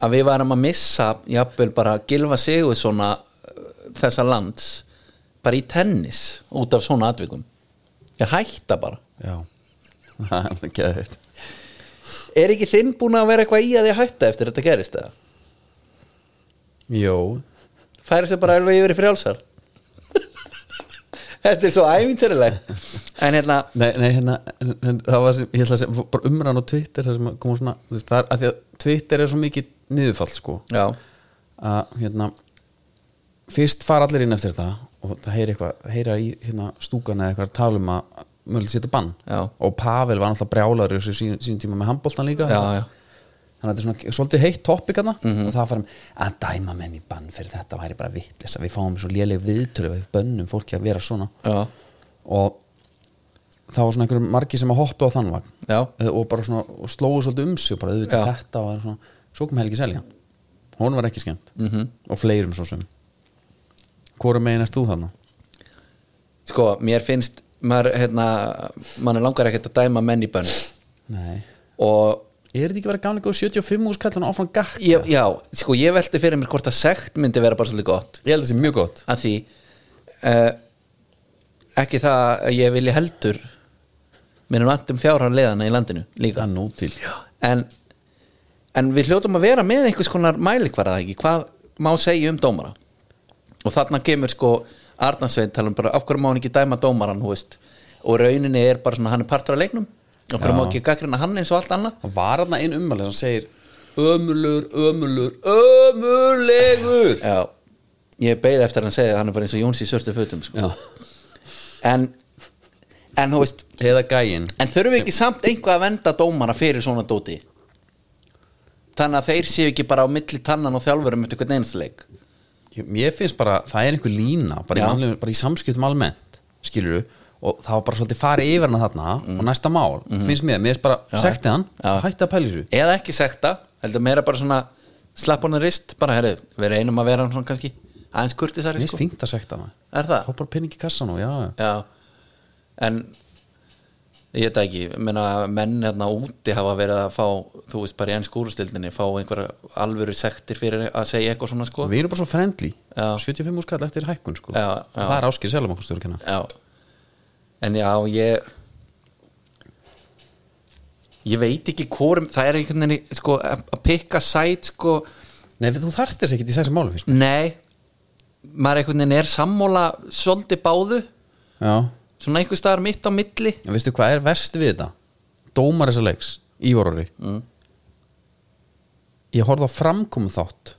[SPEAKER 2] að við varum að missa jafnvel bara að gilfa sigur svona þessa lands bara í tennis út af svona atvikum ég hætta bara
[SPEAKER 1] já það er alveg geðið
[SPEAKER 2] Er ekki þinn búin að vera eitthvað í að þið hætta eftir þetta gerist eða?
[SPEAKER 1] jó,
[SPEAKER 2] Færi sér bara alveg yfir í frjálsar Þetta er svo æfintyrileg En hérna,
[SPEAKER 1] nei, nei hérna en- en það var sem, ég ætla að segja, bara umræðan á Twitter það sem kom svona, þú veist, það er að því að Twitter er svo mikið niðurfall sko
[SPEAKER 2] já,
[SPEAKER 1] að hérna fyrst fara allir inn eftir þetta og það heyri eitthvað, heyra í hérna, stúkan eða eitthvað að tala um að mögulega setja bann
[SPEAKER 2] Já.
[SPEAKER 1] og Pavel var náttúrulega brjálaður í þessu sín, sín tíma með handbóltan líka
[SPEAKER 2] já, Mhm. já
[SPEAKER 1] þannig að þetta er svona svolítið heitt topic mm og það farum að dæma menn í bann fyrir þetta væri bara vitlis að við fáum svo léleg viðtölu við bönnum fólki að vera svona
[SPEAKER 2] Já,
[SPEAKER 1] og það var svona einhverjum margi sem að hoppa á þann vagn
[SPEAKER 2] já,
[SPEAKER 1] Eh, og bara svona og slóðu svolítið um sig og bara auðvitað
[SPEAKER 2] Já.
[SPEAKER 1] þetta var svona svo kom Helgi Seljan, hún var ekki skemmt -hmm. og fleirum svo sem hvora megin erst þú þarna?
[SPEAKER 2] sko, mér finnst maður, hérna, mann langar ekkert að dæma menn í bönn
[SPEAKER 1] Nei,
[SPEAKER 2] og
[SPEAKER 1] er þetta ekki verið gáðan eitthvað 75 hús kallan áfram gakk
[SPEAKER 2] ég, já, sko ég velti fyrir mér hvort að sekt myndi vera bara svolítið gott
[SPEAKER 1] ég held þessi mjög gott
[SPEAKER 2] að því uh, ekki það að ég vilji heldur minnum vant um fjárhæðan leiðana í landinu líka
[SPEAKER 1] það er nóg til
[SPEAKER 2] en, en við hljótum að vera með einhvers konar mælikvarða ekki hvað má segja um dómara og þarna kemur sko Arnarsveinn tala um bara af hverju má hann ekki dæma dómaran þú veist? og rauninni er bara svona hann er partur af leiknum af hverju
[SPEAKER 1] Já.
[SPEAKER 2] má ekki gaggrina hann eins og allt annað
[SPEAKER 1] það var hann einn ummælið sem segir ömurlegur, ömurlegur, ömurlegur
[SPEAKER 2] Já, ég beið eftir að hann segja að hann er bara eins og Jóns í sörtu fötum sko.
[SPEAKER 1] já,
[SPEAKER 2] en, en þú veist
[SPEAKER 1] eða gæinn
[SPEAKER 2] en þurfum við ekki samt einhvað að venda dómana fyrir svona dóti þannig að þeir séu ekki bara á milli tannan og þjálfurum eftir hvern einasta leik
[SPEAKER 1] Ég- mér finnst bara, það er einhver lína bara, í,
[SPEAKER 2] Já.
[SPEAKER 1] mannlegum, bara í samskiptum almennt skilur og það var bara svolítið farið yfir hana þarna og næsta mál, finnst mér mér finnst bara, sekti hann,
[SPEAKER 2] Já.
[SPEAKER 1] hætti að pæli þessu
[SPEAKER 2] eða ekki sekta, heldur meira bara svona slapp honum rist, bara herri við reynum að vera hann svona kannski aðeins kurtisari
[SPEAKER 1] mér finnst
[SPEAKER 2] sko.
[SPEAKER 1] fínt að sekta hann
[SPEAKER 2] er það?
[SPEAKER 1] þá bara pening í kassan og já, já
[SPEAKER 2] Já, en ég veit það ekki, ég meina menn hérna úti hafa verið að fá þú veist bara í enn skúrustildinni, fá einhverja alvöru sektir fyrir að segja eitthvað svona sko
[SPEAKER 1] og við erum bara svo friendly
[SPEAKER 2] Já.
[SPEAKER 1] 75 úrskall eftir hækkun sko.
[SPEAKER 2] Já, já.
[SPEAKER 1] það er áskil selumankastjóri kenna
[SPEAKER 2] Já, en já, ég ég veit ekki hvorum, það er einhvern veginn sko, að að pikka sæt sko,
[SPEAKER 1] nei, þú þarft þess ekkit í þessi málum finnst mér.
[SPEAKER 2] nei maður einhvern veginn er sammála svolítið báðu,
[SPEAKER 1] já,
[SPEAKER 2] svona einhvers staðar mitt á milli
[SPEAKER 1] en veistu hvað er verst við þetta dómar þessa leiks, Ívarori
[SPEAKER 2] mm.
[SPEAKER 1] ég horfði á framkomu þátt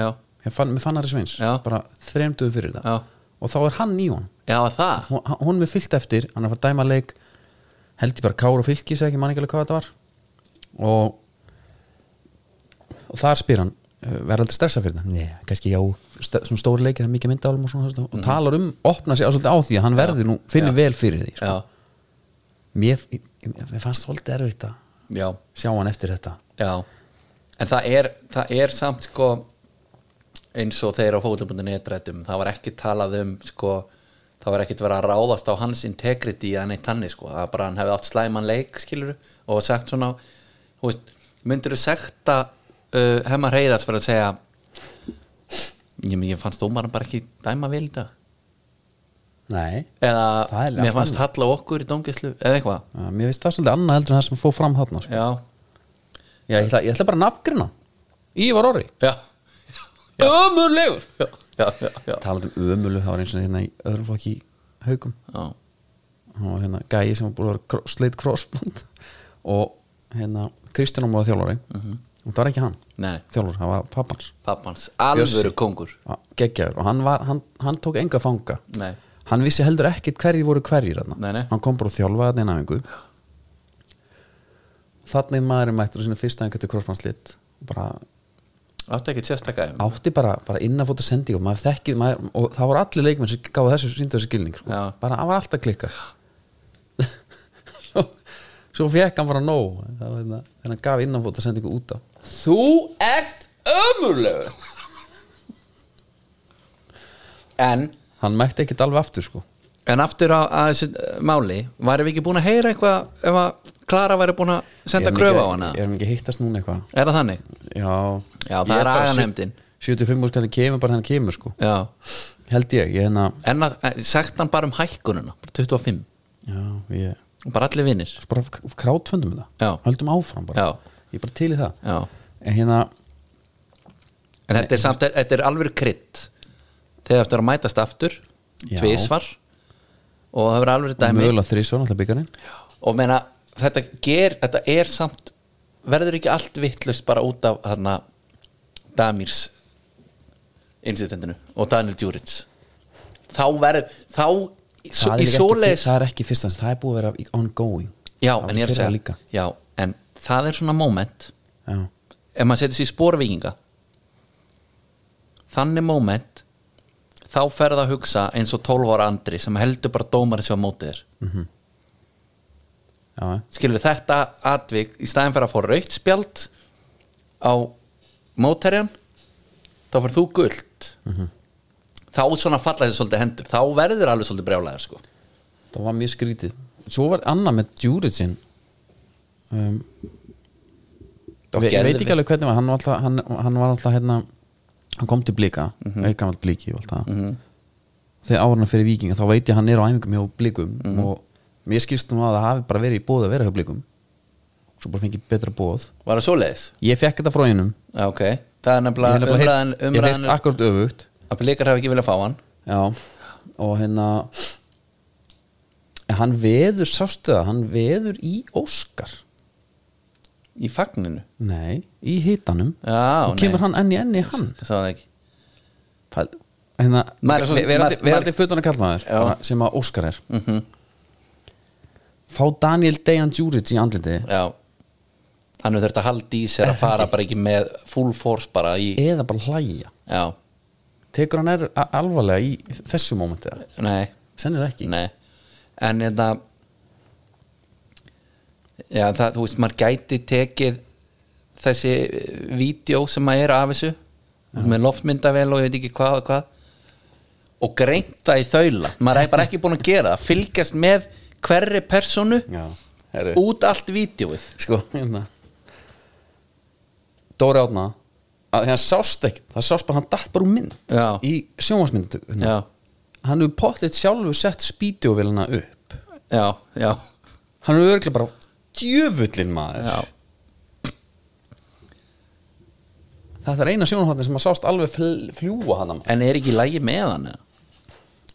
[SPEAKER 2] Já,
[SPEAKER 1] ég fann, mér fann Ari Sveins,
[SPEAKER 2] Já.
[SPEAKER 1] bara þremduðu fyrir þetta
[SPEAKER 2] já,
[SPEAKER 1] og þá er hann í honum
[SPEAKER 2] já það
[SPEAKER 1] Hon- honum er fyllt eftir, hann er að fara að dæma leik held ég bara Kár og Fylkis ekki mann ekki alveg hvað þetta var og og þar spyr hann "Eh, verður aldrei stressað fyrir það, Nei, kannski já st svona stóri leikir er mikið myndálum og, svona, þú veist, og talar um, opnar sig á svolítið á því að hann verði nú finnir vel fyrir því sko.
[SPEAKER 2] Já,
[SPEAKER 1] mér, ég, ég- mér fannst svolítið erfitt að
[SPEAKER 2] já
[SPEAKER 1] sjá hann eftir þetta
[SPEAKER 2] Já, en það er, það er samt sko eins og þeir á fótum.net netrættum það var ekki talað um sko það var ekkit verið að ráðast á hans integrity að neitt hann sko, það var bara að hann hefði átt slæman leik skilur og sagt svona þú veist, myndirðu sekta uh, hefma reyðast fyrir að segja ég, meina, ég fannst dómaran bara ekki dæma vel í dag
[SPEAKER 1] nei, Það
[SPEAKER 2] eða
[SPEAKER 1] er allt
[SPEAKER 2] mér fannst halla okkur í dóngislu eða eitthvað,
[SPEAKER 1] að, mér veist það svolítið annað heldur en það sem fóð fram þarna sko.
[SPEAKER 2] já
[SPEAKER 1] já, ég, ætla, ég ætla bara að nafngrina Ívar Orri,
[SPEAKER 2] já,
[SPEAKER 1] ömurlegur
[SPEAKER 2] já, já, já, já.
[SPEAKER 1] talað um ömurlegur, það var eins og hérna í öðrum flokki í haugum
[SPEAKER 2] já.
[SPEAKER 1] hann var hérna gæi sem var búin að vera kro- sleitt crossband og hérna Kristján Ómar var þjálfari
[SPEAKER 2] Mhm.
[SPEAKER 1] og það var ekki hann,
[SPEAKER 2] nei,
[SPEAKER 1] þjálfur, það var pappans
[SPEAKER 2] pappans alvöru
[SPEAKER 1] Bjössi.
[SPEAKER 2] kongur
[SPEAKER 1] geggjaður og hann, var, hann, hann tók enga fanga
[SPEAKER 2] Nei.
[SPEAKER 1] hann vissi heldur ekkit hverjir voru hverjir þarna.
[SPEAKER 2] Nei, nei.
[SPEAKER 1] hann kom bara og þjálfaði þarna eina engu þannig maðurinn mættur á sína fyrsta enga til crossbandslit bara
[SPEAKER 2] Áttu ekkert sérstaka um. æfingu?
[SPEAKER 1] átti bara, bara innanfóta sending og maður þekkið, maður, og það voru allir leikmenn sem gáðu þessu, síndu þessu skilning sko.
[SPEAKER 2] Já.
[SPEAKER 1] bara, hann var alltaf klikka svo, svo fekk hann bara nóg það var hérna, þegar hann gaf innanfóta sendingu út á þú ert ömurleg
[SPEAKER 2] En,
[SPEAKER 1] hann mætti ekkit alveg aftur sko
[SPEAKER 2] en aftur á, að þessu uh, máli Værum við ekki búin að heyra eitthvað ef að Klara væri búin að senda
[SPEAKER 1] Erum
[SPEAKER 2] kröfu
[SPEAKER 1] ekki-
[SPEAKER 2] á hana?
[SPEAKER 1] er hann ekki að hittast núna eitthvað
[SPEAKER 2] Er það þannig?
[SPEAKER 1] já,
[SPEAKER 2] Já,
[SPEAKER 1] Ég
[SPEAKER 2] það er
[SPEAKER 1] bara
[SPEAKER 2] aganefndin.
[SPEAKER 1] 75 úr skallið kemur bara hann kemur sko
[SPEAKER 2] Já
[SPEAKER 1] held ég, ég hérna
[SPEAKER 2] En að, eh, sagt hann bara um hækkununa bara 25
[SPEAKER 1] já, ég,
[SPEAKER 2] og bara allir vinnir
[SPEAKER 1] svo bara k- krátföndum þetta
[SPEAKER 2] Já.
[SPEAKER 1] höldum áfram bara,
[SPEAKER 2] Já.
[SPEAKER 1] ég er bara til í það
[SPEAKER 2] Já
[SPEAKER 1] en hérna,
[SPEAKER 2] En þetta er samt, þetta er alveg krydd Þegar eftir að mætast aftur
[SPEAKER 1] Já.
[SPEAKER 2] Tvisvar Og það verður alveg dæmi
[SPEAKER 1] mögulega þrísvar náttúrulega byggarinn
[SPEAKER 2] og meina þetta ger, þetta er samt verður ekki allt vittlust bara út af þarna Damirs incidentinu og Daniel Djurits þá verður þá í
[SPEAKER 1] það, er
[SPEAKER 2] í
[SPEAKER 1] ekki
[SPEAKER 2] svoleiðis
[SPEAKER 1] ekki, það er ekki fyrst hans, það er búið að vera í- ongoing
[SPEAKER 2] já,
[SPEAKER 1] Það var
[SPEAKER 2] en ég er
[SPEAKER 1] í
[SPEAKER 2] að
[SPEAKER 1] fyrra
[SPEAKER 2] segja
[SPEAKER 1] líka.
[SPEAKER 2] já, en það er svona moment
[SPEAKER 1] já,
[SPEAKER 2] ef maður setjast í spórvikinga þannig moment þá ferð að hugsa eins og 12 ára andri sem heldur bara dómarinn sem á móti þér
[SPEAKER 1] já, já.
[SPEAKER 2] skilur þetta atvik í staðin fyrir að fá raukt spjald á móterjan þá fyrir þú gult
[SPEAKER 1] Mhm.
[SPEAKER 2] þá svona falla þessi svolítið hendur þá verður alveg svolítið brjálæður sko
[SPEAKER 1] það var mjög skrítið svo var annað með Djúritsinn um, Ég ég
[SPEAKER 2] Og
[SPEAKER 1] veit
[SPEAKER 2] geðveikt.
[SPEAKER 1] ekki alveg hvernig var, hann var alltaf, hann, hann var alltaf hérna, hann kom til blika mm
[SPEAKER 2] Mhm.
[SPEAKER 1] -hmm. aukamal bliki og alltaf mm -hmm. þegar áhverna fyrir vikinga þá veit ég að hann er á æfingum hjá blikum
[SPEAKER 2] Mhm.
[SPEAKER 1] og mér skilst nú að það hafi bara verið í bóð að vera hjá blikum svo bara fengið betra bóð
[SPEAKER 2] Var það svoleiðis?
[SPEAKER 1] ég fekk þetta frá einum
[SPEAKER 2] Já, ok Það er
[SPEAKER 1] Ég hef
[SPEAKER 2] nefnilega
[SPEAKER 1] nefnilega
[SPEAKER 2] umræðan,
[SPEAKER 1] heyrt- ég
[SPEAKER 2] umræðan
[SPEAKER 1] hef akkurat öfugt
[SPEAKER 2] að blikar hafi ekki viljað fá hann
[SPEAKER 1] já, og hérna en hann veður sástu það, hann veður í Óskar
[SPEAKER 2] í fagninu
[SPEAKER 1] nei, í hitanum
[SPEAKER 2] Já,
[SPEAKER 1] og kemur hann enn í enni hann
[SPEAKER 2] Sá það ekki
[SPEAKER 1] Það- hérna,
[SPEAKER 2] Maður er svo-
[SPEAKER 1] ver- verandi,
[SPEAKER 2] maður-
[SPEAKER 1] verandi fötuna kallmaður
[SPEAKER 2] Já. Mhm.
[SPEAKER 1] bara, sem að Óskar er fá Daniel Dejan Djuric í andliti
[SPEAKER 2] Já Hann er þurft að halda í sér að fara bara ekki með full force bara í
[SPEAKER 1] eða bara hlæja
[SPEAKER 2] Já,
[SPEAKER 1] tekur hann er alvarlega í þessu mómenti
[SPEAKER 2] nei
[SPEAKER 1] sennir ekki
[SPEAKER 2] Nei, en þetta Já, það, þú veist, maður gæti tekið þessi vídjó sem maður er af þessu með loftmyndavel og ég veit ekki hvað og hvað og greinta í þaula maður er bara ekki búin að gera það fylgjast með hverri personu
[SPEAKER 1] Já, herru.
[SPEAKER 2] út allt vídjóið
[SPEAKER 1] sko hérna Dóri Átna að hérna sást ekki, það sást bara hann datt bara úr mynd
[SPEAKER 2] Já.
[SPEAKER 1] í sjónvarsmyndu
[SPEAKER 2] Já,
[SPEAKER 1] hann hefur pottitt sjálfu sett spídjóvelina upp
[SPEAKER 2] já, já,
[SPEAKER 1] hann hefur örglega bara djöfullin maður
[SPEAKER 2] já
[SPEAKER 1] það er eina sjónvartin sem að sást alveg fl fljúa hann
[SPEAKER 2] En er ekki í lagi með hann? eða?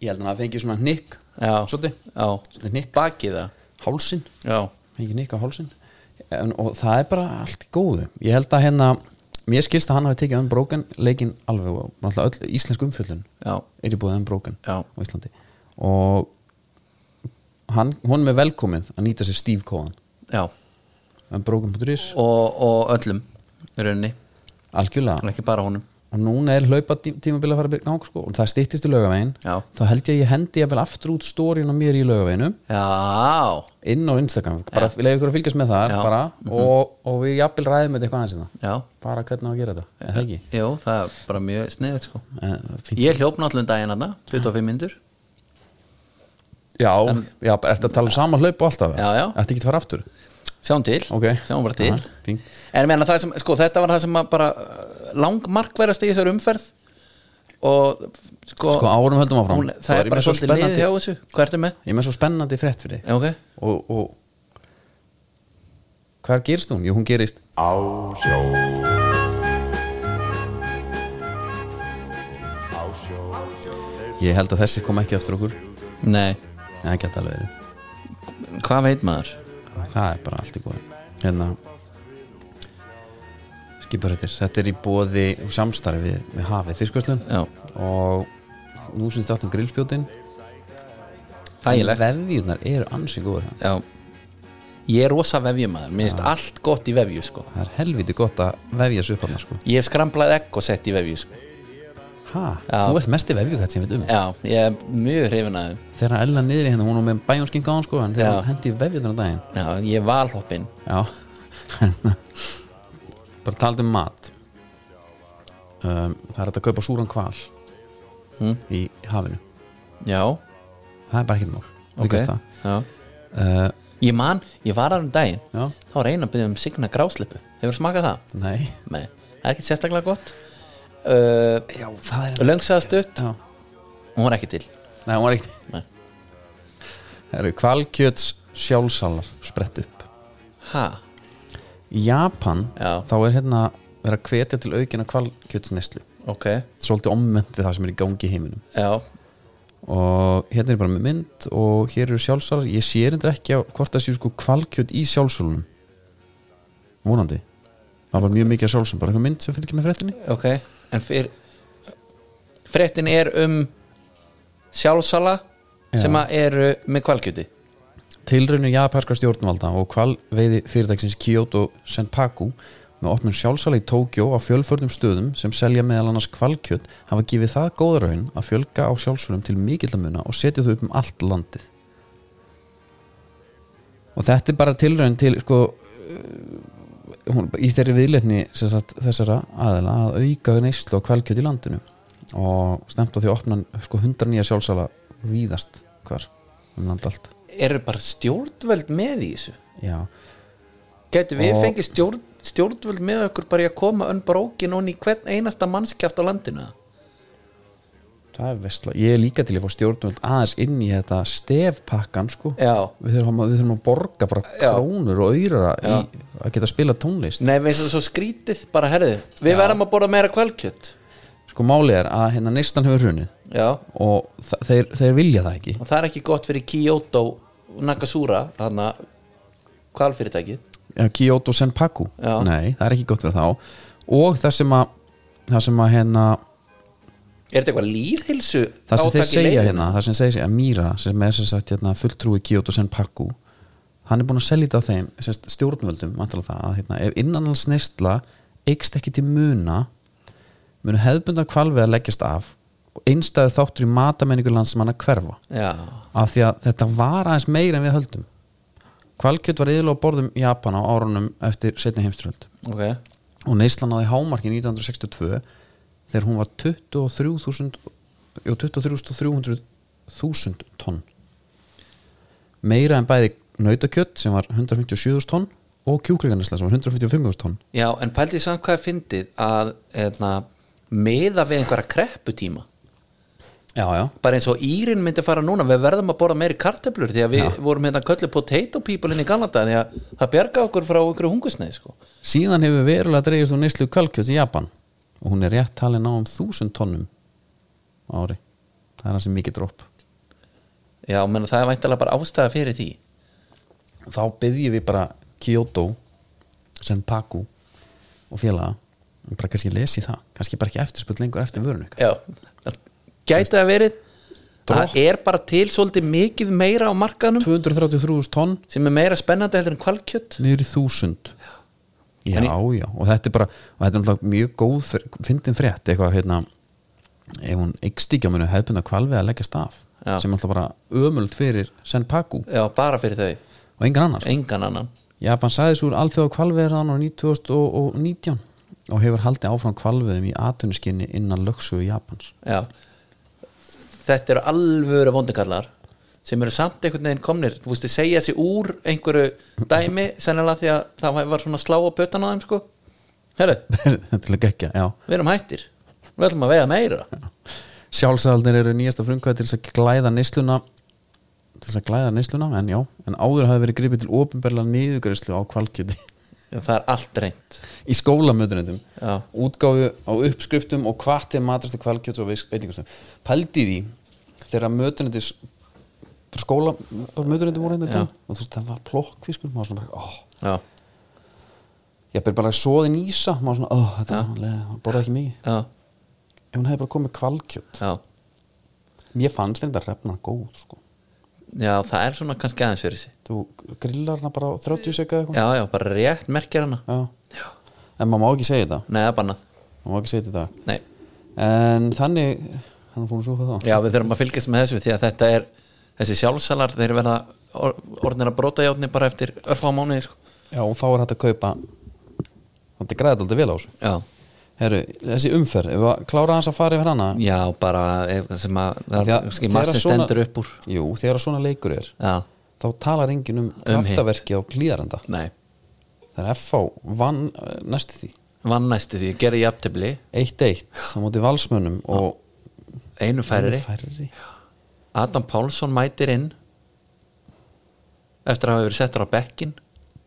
[SPEAKER 1] ég held að hann fengi svona hnykk
[SPEAKER 2] Já,
[SPEAKER 1] svolítið,
[SPEAKER 2] já,
[SPEAKER 1] svolítið hnykk
[SPEAKER 2] bakið það
[SPEAKER 1] hálsin,
[SPEAKER 2] Já,
[SPEAKER 1] fengi hnykk á hálsin en, og það er bara allt í góðu ég held að hérna, mér skilst að hann hafi tekið unbroken leikinn alveg og náttúrulega öll íslensk umfjöllun
[SPEAKER 2] já,
[SPEAKER 1] er í búið Unbroken
[SPEAKER 2] Já.
[SPEAKER 1] á Íslandi og hann, honum er velkomið að nýta sér Steve Cohen
[SPEAKER 2] já
[SPEAKER 1] Unbroken.is
[SPEAKER 2] og, og öllum í rauninni,
[SPEAKER 1] algjörlega
[SPEAKER 2] ekki bara honum
[SPEAKER 1] og núna er hlaupa tímabil að fara að byrja gang sko. og það styttist í laugavegin
[SPEAKER 2] Já.
[SPEAKER 1] þá held ég að ég hendi ég vel aftur út stórin á mér í laugaveginu
[SPEAKER 2] já,
[SPEAKER 1] inn á Instagram, bara ja. leiði ykkur að fylgjast með þar
[SPEAKER 2] Já. Mhm.
[SPEAKER 1] bara, og, og við jafnvel ræðum þetta eitthvað aðeins hérna.
[SPEAKER 2] já,
[SPEAKER 1] bara hvernig á að gera þetta, eða ekki
[SPEAKER 2] jú, það er bara mjög sniðið sko
[SPEAKER 1] Eh, fínt.
[SPEAKER 2] ég hljóp náttúrulega um daginn hana 25 myndur,
[SPEAKER 1] Já, já, ertu að tala um sama hlaup og alltaf
[SPEAKER 2] Já, já.
[SPEAKER 1] Ertu ekki að fara aftur
[SPEAKER 2] sjáum til
[SPEAKER 1] Ok.
[SPEAKER 2] sjáum bara til
[SPEAKER 1] Aha, fínt.
[SPEAKER 2] en menna, það sem, sko, þetta var það sem að bara langmarkverðast í þessar umferð og sko,
[SPEAKER 1] Sko, árum höldum áfram.
[SPEAKER 2] hún,
[SPEAKER 1] Svo
[SPEAKER 2] það
[SPEAKER 1] er
[SPEAKER 2] er
[SPEAKER 1] ég
[SPEAKER 2] bara
[SPEAKER 1] með svo
[SPEAKER 2] svolítið liðið hjá
[SPEAKER 1] spennandi-
[SPEAKER 2] þessu, hvað ertu með?
[SPEAKER 1] Ég er með svo spennandi frétt fyrir þig
[SPEAKER 2] Já, ok,
[SPEAKER 1] og, og hvað gerist hún? Jú, hún gerist á sjó Ég held að þessi kom ekki eftir okkur en
[SPEAKER 2] nei,
[SPEAKER 1] það geta alveg verið
[SPEAKER 2] hvað veit maður?
[SPEAKER 1] það er bara allt í góð hérna skiparhættir, þetta er í bóði samstarfi við, við hafið fiskvæslun
[SPEAKER 2] já,
[SPEAKER 1] og nú syns þetta um grillspjótin
[SPEAKER 2] þægilegt
[SPEAKER 1] vefjurnar eru ansi góður
[SPEAKER 2] já, ég er rosa vefjumæður mér finnst allt gott í vefju sko
[SPEAKER 1] það er helviti gott að vefja þessu upp hann sko.
[SPEAKER 2] Ég hef skramblað egg og sett í vefju sko.
[SPEAKER 1] ha,
[SPEAKER 2] Já.
[SPEAKER 1] þú ert mesti vefjukætt sem ég veit um
[SPEAKER 2] Já, ég er mjög hrifin að þeim.
[SPEAKER 1] þegar Ella niður í henni, hún var með bæjónskinga á hann sko, en þegar
[SPEAKER 2] Já.
[SPEAKER 1] hún hendi í vefjöldan á daginn
[SPEAKER 2] Já, ég er valhoppin
[SPEAKER 1] já bara talað um mat um, það er hægt að kaupa súran kval
[SPEAKER 2] Mm.
[SPEAKER 1] í hafinu
[SPEAKER 2] Já,
[SPEAKER 1] það er bara ekkert mál Þú
[SPEAKER 2] ok
[SPEAKER 1] getur það.
[SPEAKER 2] Já.
[SPEAKER 1] uh,
[SPEAKER 2] Ég man, ég var aðra um daginn
[SPEAKER 1] já,
[SPEAKER 2] Þá var eina að byrja um signa grásleppu Hefur smakað það?
[SPEAKER 1] nei
[SPEAKER 2] Nei, það er ekkert sérstaklega gott uh,
[SPEAKER 1] já, það er
[SPEAKER 2] Löngsaðastutt,
[SPEAKER 1] já.
[SPEAKER 2] hún var ekki til
[SPEAKER 1] nei, hún var ekkert
[SPEAKER 2] Nei.
[SPEAKER 1] það eru kvalkjöts sjálfsalar sprett upp
[SPEAKER 2] Ha,
[SPEAKER 1] í Japan
[SPEAKER 2] Já.
[SPEAKER 1] þá er hérna verið að hvetja til aukina kvalkjötsneslu
[SPEAKER 2] ok
[SPEAKER 1] svolítið omvend við það sem er í gangi í heiminum
[SPEAKER 2] Já,
[SPEAKER 1] og hérna er bara með mynd og hér eru sjálfsalar, ég sé reyndir ekki á hvort það séu sko kvalkjöt í sjálfsalunum vonandi það var bara mjög mikið af sjálfsalum, bara eitthvað mynd sem fylgir með fréttinni
[SPEAKER 2] ok En fyrir Frettin er um sjálfsala
[SPEAKER 1] Já.
[SPEAKER 2] sem að eru með kvalkjöti
[SPEAKER 1] tilraunir japanska stjórnvalda og kvalveiði fyrirtæksins Kyoto Senpaku með opnum sjálfsala í Tókjó á fjölförnum stöðum sem selja meðal annars kvalkjöt hafa gefið það góða raun að fjölga á sjálfsalum til mikillamuna og setja þau upp um allt landið og þetta er bara tilraun til sko eh, hún, í þeirri viðleitni sem sagt, þessara aðila að auka neyslu á kvalkjöt í landinu og stemta því að opna sko 100 nýja sjálfsala víðast hvar um land allt
[SPEAKER 2] Eru bara stjórnvöld með í þessu?
[SPEAKER 1] Já
[SPEAKER 2] Gæti við
[SPEAKER 1] Og-
[SPEAKER 2] fengið stjórn, stjórnvöld með okkur bara í að koma unbrókin og í hvern einasta mannskjaft á landinu
[SPEAKER 1] það er vestla, ég er líka til að fá stjórnvöld aðeins inn í þetta stefpakkan sko
[SPEAKER 2] Já,
[SPEAKER 1] við þurfum, að, við þurfum að borga bara
[SPEAKER 2] Já.
[SPEAKER 1] krónur og auðra í, að geta að spila tónlist
[SPEAKER 2] nei, veist það svo skrítið bara herðu, við verðum að borða meira kvalkjött
[SPEAKER 1] sko málið er að hérna neistan hefur hrunið
[SPEAKER 2] Já,
[SPEAKER 1] og þa- þeir, þeir vilja það ekki
[SPEAKER 2] og það er ekki gott fyrir Kyoto Nakasura, hann að kvalfyrirtæki
[SPEAKER 1] Já, Kyoto Senpaku
[SPEAKER 2] Já.
[SPEAKER 1] nei, það er ekki gott fyrir þá og það sem að það sem að hérna
[SPEAKER 2] Er þetta eitthvað líðhilsu
[SPEAKER 1] það sem þeir
[SPEAKER 2] átak í
[SPEAKER 1] segja
[SPEAKER 2] leiðinni?
[SPEAKER 1] hérna, það sem segja að Mira sem er sem sagt hérna, fulltrúi Kyoto Senpaku hann er búin að selja þetta á þeim sem sagt, stjórnvöldum, vantala það að hérna, ef innanlands neysla eikst ekki til muna munu hefðbundar kvalveða leggjast af og einstæðu þáttur í matamenningu landsmanna hverfa
[SPEAKER 2] Já,
[SPEAKER 1] af því að þetta var aðeins meira en við höldum kvalkjöt var yfirlega á borðum Japan á árunum eftir setni heimsturöld
[SPEAKER 2] ok
[SPEAKER 1] og neyslan náði hámarki 1962 þegar hún var 23.000 jú, 23.300.000 tonn meira en bæði nautakjött sem var 157.000 tonn og kjúklingarnesla sem var 155.000 tonn
[SPEAKER 2] Já, en pældi samt hvað er fyndið að eðna, meða við einhverja krepputíma
[SPEAKER 1] já, já,
[SPEAKER 2] bara eins og Írin myndi fara núna við verðum að borða meiri karteblur því að við vorum hérna köllu potato people inn í Galanda því að það bjarga okkur frá einhverju hungusneið sko.
[SPEAKER 1] síðan hefur verulega dreigist úr neyslu kvalkjött í Japan og hún er rétt talin á um 1000 tonnum á ári það er hansi mikið dropp
[SPEAKER 2] Já, menn það er væntalega bara ástæða fyrir því
[SPEAKER 1] þá byggjum við bara Kyoto Senpaku og félaga um bara kannski lesi það, kannski bara ekki eftirspöld lengur eftir vörun ykkar
[SPEAKER 2] Já, gæti það verið
[SPEAKER 1] Dropp.
[SPEAKER 2] það er bara til svolítið mikið meira á markaðnum
[SPEAKER 1] 233.000 tonn
[SPEAKER 2] sem er meira spennandi heldur en kvalkjött
[SPEAKER 1] niður í 1000 já, já, og þetta er bara og þetta er náttúrulega mjög góð fyr- fyndin frétt eitthvað hérna ef hún eikstíkja munu hefðbund að kvalvega að leggja staf
[SPEAKER 2] Já.
[SPEAKER 1] sem er alltaf bara ömult fyrir Senpaku
[SPEAKER 2] Já, bara fyrir þau,
[SPEAKER 1] og engan annars
[SPEAKER 2] engan annan
[SPEAKER 1] Japan sæðis úr alþjóða kvalveðran á 2019 og hefur haldið áfram kvalveðum í atvinnuskinni innan lögsugu Japans
[SPEAKER 2] Já Þetta eru alvöru vondikallar sem eru samt einhvern veginn komnir þú veist, þið segja sig úr einhverju dæmi sennilega því að það var svona slá á pötan á þeim sko Herru,
[SPEAKER 1] Þetta er gekkja, já
[SPEAKER 2] við erum hættir Við ætlum að vega meira
[SPEAKER 1] Sjálfsældir eru nýjasta frumkvæði til þess að glæða neysluna til þess að glæða neysluna, en já en áður hafi verið gripið til ofinberla niðugreyslu á kvalkjöti
[SPEAKER 2] Já, Það er allt reynd
[SPEAKER 1] í skólamötunendum
[SPEAKER 2] Já.
[SPEAKER 1] útgáfu á uppskriftum og kvartið matrastu kvalkjöts og veitingustum pældi í því þegar mötunendi skóla, bara mötunendi voru hérna í dag og þú veist, það var plokkfiskur maður svona bara, óh
[SPEAKER 2] Já,
[SPEAKER 1] ég byrði bara að soði nýsa maður svona, oh, þetta var leið, hann borðaði ekki mikið
[SPEAKER 2] já,
[SPEAKER 1] ef hún hefði bara komið kvalkjöt
[SPEAKER 2] já
[SPEAKER 1] mér fannst þetta hrefna góð sko.
[SPEAKER 2] Já, það er svona kannski aðeins fyrir sig
[SPEAKER 1] þú grillar hana bara á 30 sekka eitthvað
[SPEAKER 2] Já, já, bara rétt merkir hana
[SPEAKER 1] Já. en maður má ekki segja þetta
[SPEAKER 2] Nei, það er bannað
[SPEAKER 1] maður má ekki segja þetta í
[SPEAKER 2] Nei,
[SPEAKER 1] dag. en þannig hann er fórum svo hvað það
[SPEAKER 2] já, við þurfum að fylgjast með þessu því að þetta er þessi sjálfsalar, þeir verða or- orðnir að brota játni bara eftir örfá mánuði sko.
[SPEAKER 1] já, og þá er hægt að kaupa þetta græði alltaf vel á þessu
[SPEAKER 2] Já,
[SPEAKER 1] Heru, þessi umferð, ef að klára hans að fara yfir hana
[SPEAKER 2] já, bara ef- sem að það
[SPEAKER 1] Því
[SPEAKER 2] er
[SPEAKER 1] að
[SPEAKER 2] kannski
[SPEAKER 1] þegar
[SPEAKER 2] margt sem
[SPEAKER 1] svona-
[SPEAKER 2] stendur upp úr
[SPEAKER 1] jú, þegar að svona leikur er
[SPEAKER 2] Já,
[SPEAKER 1] þá talar enginn um
[SPEAKER 2] hitt.
[SPEAKER 1] kraftaverki á klíðarenda
[SPEAKER 2] nei,
[SPEAKER 1] þegar FH vann eh, næstu því
[SPEAKER 2] vann næsti því gerði jafntefli,
[SPEAKER 1] 1-1 á móti valsmönnum og
[SPEAKER 2] einu færri
[SPEAKER 1] færri
[SPEAKER 2] Adam Pálsson mætir inn eftir að hafa verið settur á bekkin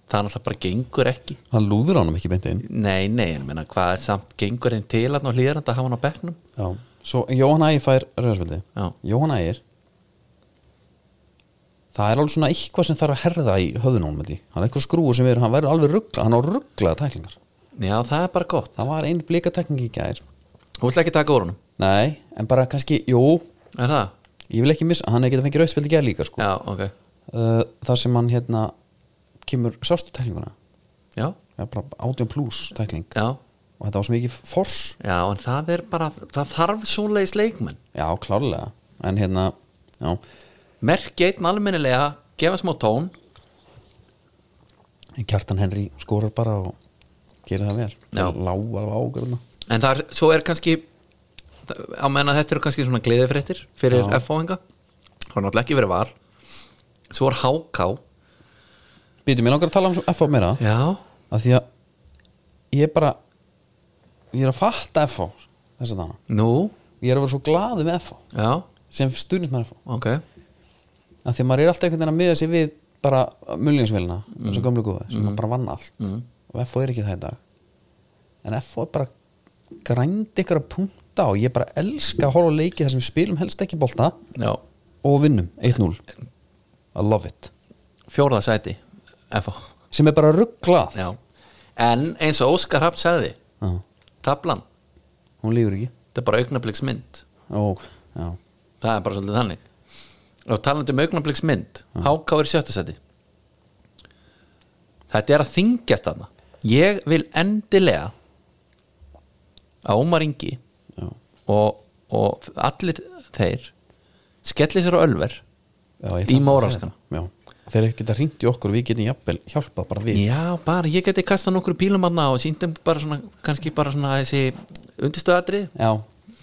[SPEAKER 2] það er alltaf bara gengur ekki
[SPEAKER 1] hann lúður ánum ekki beint inn
[SPEAKER 2] Nei, nei, en meina hvað er samt gengur einn til að ná hlýðranda að hafa hann á bekknum
[SPEAKER 1] já. svo Jóhann Ægir fær rauðarspildi
[SPEAKER 2] Já.
[SPEAKER 1] Jóhann Ægir það er alveg svona eitthvað sem þarf að herða í höfðunum með því hann er eitthvað skrúu sem verður, hann verður alveg ruggla hann á rugglaða tæklingar
[SPEAKER 2] Já, það er bara gott
[SPEAKER 1] það var einn blika tækling í gær
[SPEAKER 2] Þú ætla ekki að taka úr honum,
[SPEAKER 1] nei, en bara kannski, jú,
[SPEAKER 2] er það?
[SPEAKER 1] ég vil ekki missa hann er ekki að fengi rauðarspildi í gær líka sko.
[SPEAKER 2] Já, ok
[SPEAKER 1] uh, þar sem hann hérna kemur sástu tæklinguna
[SPEAKER 2] Já,
[SPEAKER 1] Já, bara átjón pluss tækling
[SPEAKER 2] já,
[SPEAKER 1] og þetta var svo mikið fors
[SPEAKER 2] já, en það er bara það þarf svoleiðis leikmenn
[SPEAKER 1] já, klárlega, en hérna já,
[SPEAKER 2] merkja einn almennilega gefa smá tón
[SPEAKER 1] En Kjartan Henry skorar bara og gerir það vel
[SPEAKER 2] Já.
[SPEAKER 1] lág alveg ágjörna
[SPEAKER 2] en það er, svo er kannski á menna þetta eru kannski svona gleðifréttir fyrir
[SPEAKER 1] Já.
[SPEAKER 2] FO-inga það er náttúrulega ekki verið val svo er HK
[SPEAKER 1] Býtum, ég langar að tala um svo FH meira
[SPEAKER 2] já,
[SPEAKER 1] að því að ég er bara ég er að fatta FH þess að dana
[SPEAKER 2] Nú,
[SPEAKER 1] ég er að vera svo glaði með FH
[SPEAKER 2] já,
[SPEAKER 1] sem stundismæður FH
[SPEAKER 2] ok
[SPEAKER 1] að því að maður er alltaf einhvern veginn að miða sig við bara mullingsvélina mm. svo gömlu góða sem maður bara vann allt og FH er ekki það í dag en FH er bara grændi ykkur að punta og ég bara elska að horfa á leiki þar sem við spilum helst ekki bolta
[SPEAKER 2] Já,
[SPEAKER 1] og vinnum 1-0 I love it
[SPEAKER 2] fjórða sæti FH
[SPEAKER 1] sem er bara rugglað
[SPEAKER 2] Já. En eins og Óskar Haft sagði
[SPEAKER 1] Já,
[SPEAKER 2] Tablan,
[SPEAKER 1] hún lífur ekki
[SPEAKER 2] þetta er bara augnabliksmynd
[SPEAKER 1] Ó, já,
[SPEAKER 2] Það er bara svolítið þannig Og talandi um augnabliksmynd Háká er í sjötta sæti Þetta er að þingjast þarna Ég vil endilega að Ómar Ingi
[SPEAKER 1] já,
[SPEAKER 2] og, og allir þeir skelli sér á ölver
[SPEAKER 1] já ég
[SPEAKER 2] Í
[SPEAKER 1] ætla að
[SPEAKER 2] Móraskana.
[SPEAKER 1] segja það. Já, þeir geta hringt í okkur og við getum jafnvel hjálpað bara við
[SPEAKER 2] Já, bara ég geti kastað nokkur bílum aðna og sýndum bara svona, kannski bara svona þessi undirstöðatrið
[SPEAKER 1] Já,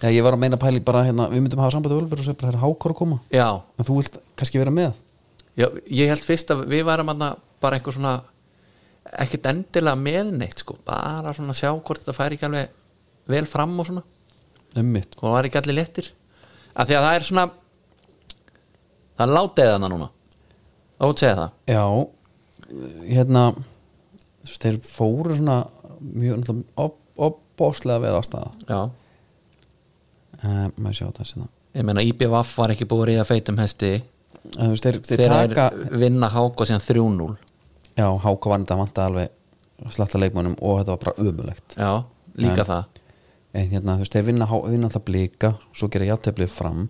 [SPEAKER 1] já ég var að meina pæli bara hérna, við myndum hafa sambandi Ölver og svo bara það er hákor að koma
[SPEAKER 2] Já,
[SPEAKER 1] en þú vilt kannski vera með
[SPEAKER 2] já, ég held fyrst að við værum aðna bara eitthvað svona ekkert endilega með neitt sko, bara svona sjá hvort þetta færi ekki alveg vel fram og svona
[SPEAKER 1] um mitt,
[SPEAKER 2] og það var ekki allir léttir af því að það er svona það er látið þarna núna ótt segja það
[SPEAKER 1] já hérna þú veist, þeir fóru svona mjög náttúrulega opbóslega vel ástæða
[SPEAKER 2] Já,
[SPEAKER 1] uh, maður sjá það sinna
[SPEAKER 2] ég meina IBVF var ekki búið að ríða feitum hesti
[SPEAKER 1] þú veist, þeir, þeir
[SPEAKER 2] þegar
[SPEAKER 1] taka
[SPEAKER 2] þeir vinna háka síðan 3-0
[SPEAKER 1] já, hákor var þetta vantað alveg slatta leikmönum og þetta var bara ömulegt
[SPEAKER 2] Já, líka það
[SPEAKER 1] en hérna, þú veist, þeir vinna, H- vinna alltaf blika svo gera játtöflið fram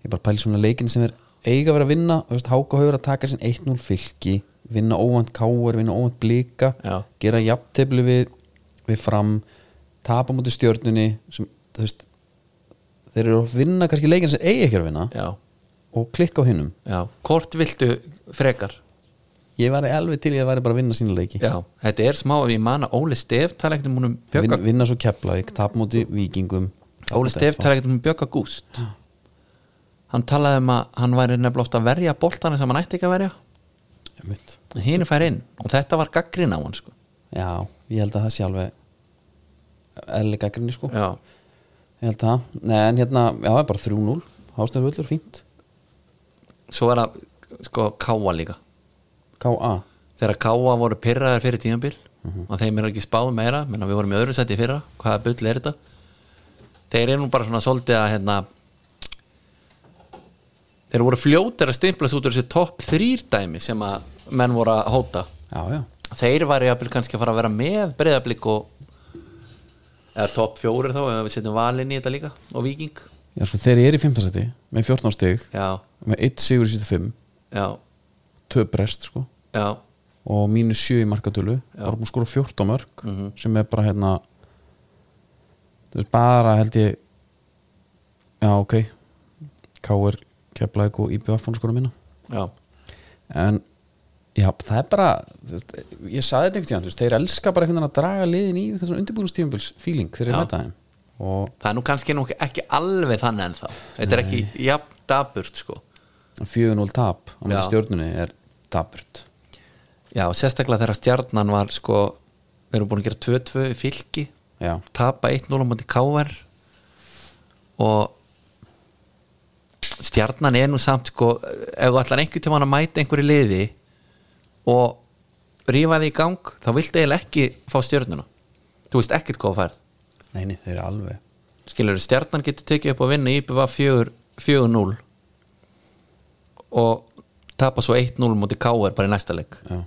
[SPEAKER 1] ég bara pæli svona leikin sem er eiga að vera að vinna þú veist, Háka haugur að taka sinn 1-0 fylki vinna óvænt káur, vinna óvænt blika
[SPEAKER 2] Já.
[SPEAKER 1] gera játtöflið við, við fram tapa múti stjörnunni sem, þú veist þeir eru að vinna kannski leikin sem eigi ekki að vinna
[SPEAKER 2] Já,
[SPEAKER 1] og klikka á hinnum
[SPEAKER 2] já, hvort viltu frekar
[SPEAKER 1] ég væri alveg til ég að væri bara að vinna sína leiki
[SPEAKER 2] Já, þetta er smá ef ég man að Óli Stef tala ekkert um húnum
[SPEAKER 1] Vin,
[SPEAKER 2] Björka
[SPEAKER 1] vinna svo Keflavík, tapa múti vikingum tapa
[SPEAKER 2] Óli
[SPEAKER 1] móti
[SPEAKER 2] Stef
[SPEAKER 1] FH.
[SPEAKER 2] tala ekkert um Björka Gúst Hann talaði um að hann væri nefnilega oft að verja boltana sem hann ætti ekki að verja
[SPEAKER 1] Einmitt.
[SPEAKER 2] en hinn fær inn og þetta var gaggrin á hann sko.
[SPEAKER 1] Já, ég held að það sé alveg eðli gaggrinni sko
[SPEAKER 2] Já,
[SPEAKER 1] Ég held það, Nei, en hérna, já, það er bara 3-0 Hástöðvöldur, fínt
[SPEAKER 2] svo er það sko Káa líka
[SPEAKER 1] K.A.
[SPEAKER 2] þegar Káa voru pyrraðar fyrir tímabil og þeim er ekki spáð meira menna við vorum í öðru sæti í fyrra, hvaða bull er þetta þeir eru nú bara svona svolítið að hérna þeir voru fljótir að stimplast út úr þessi topp þrýr dæmi sem að menn voru að hóta
[SPEAKER 1] Já, já,
[SPEAKER 2] þeir væri jafnvel kannski að fara að vera með breyðablík og eða topp fjórir þá, ef við setjum valin í þetta líka og viking,
[SPEAKER 1] já, sko þeir eru í 5. seti með 14 stig,
[SPEAKER 2] já,
[SPEAKER 1] með 1 sigur í 75
[SPEAKER 2] já,
[SPEAKER 1] 2 brest, sko
[SPEAKER 2] já
[SPEAKER 1] og mínus 7 í markatölu bara búin að skora 14 mörg sem er bara, hérna það er bara, held ég já, ok K.R. Keflæk og IBF búin að skora minna
[SPEAKER 2] já,
[SPEAKER 1] en já, það er bara þú veist, ég saði þetta einhvern tíðan, þú veist, þeir elska bara einhvern veginn að draga liðin í einhvern svona undirbúinustífumbils feeling þegar þeir
[SPEAKER 2] Já.
[SPEAKER 1] mæta þeim og
[SPEAKER 2] það er nú kannski nú ekki alveg þannig en þá þetta er ekki jafn daburt sko
[SPEAKER 1] 4-0 tap á með
[SPEAKER 2] Já.
[SPEAKER 1] stjórnunni er tapurt
[SPEAKER 2] já, sérstaklega þegar stjarnan var sko, við erum búin að gera 2-2 í fylki,
[SPEAKER 1] já,
[SPEAKER 2] tapa 1-0 á móti KR og stjarnan er nú samt sko, ef þú ætlar einhvern tímann að mæta einhverju liði og rífa því í gang þá viltu eiginlega ekki fá stjörnuna þú veist ekkert hvað þú færð
[SPEAKER 1] neini, þeir eru alveg
[SPEAKER 2] skilur stjarnan getur tekið upp og vinna IBV 4-0 og tapa svo 1-0 mútið KR bara í næsta leik
[SPEAKER 1] já.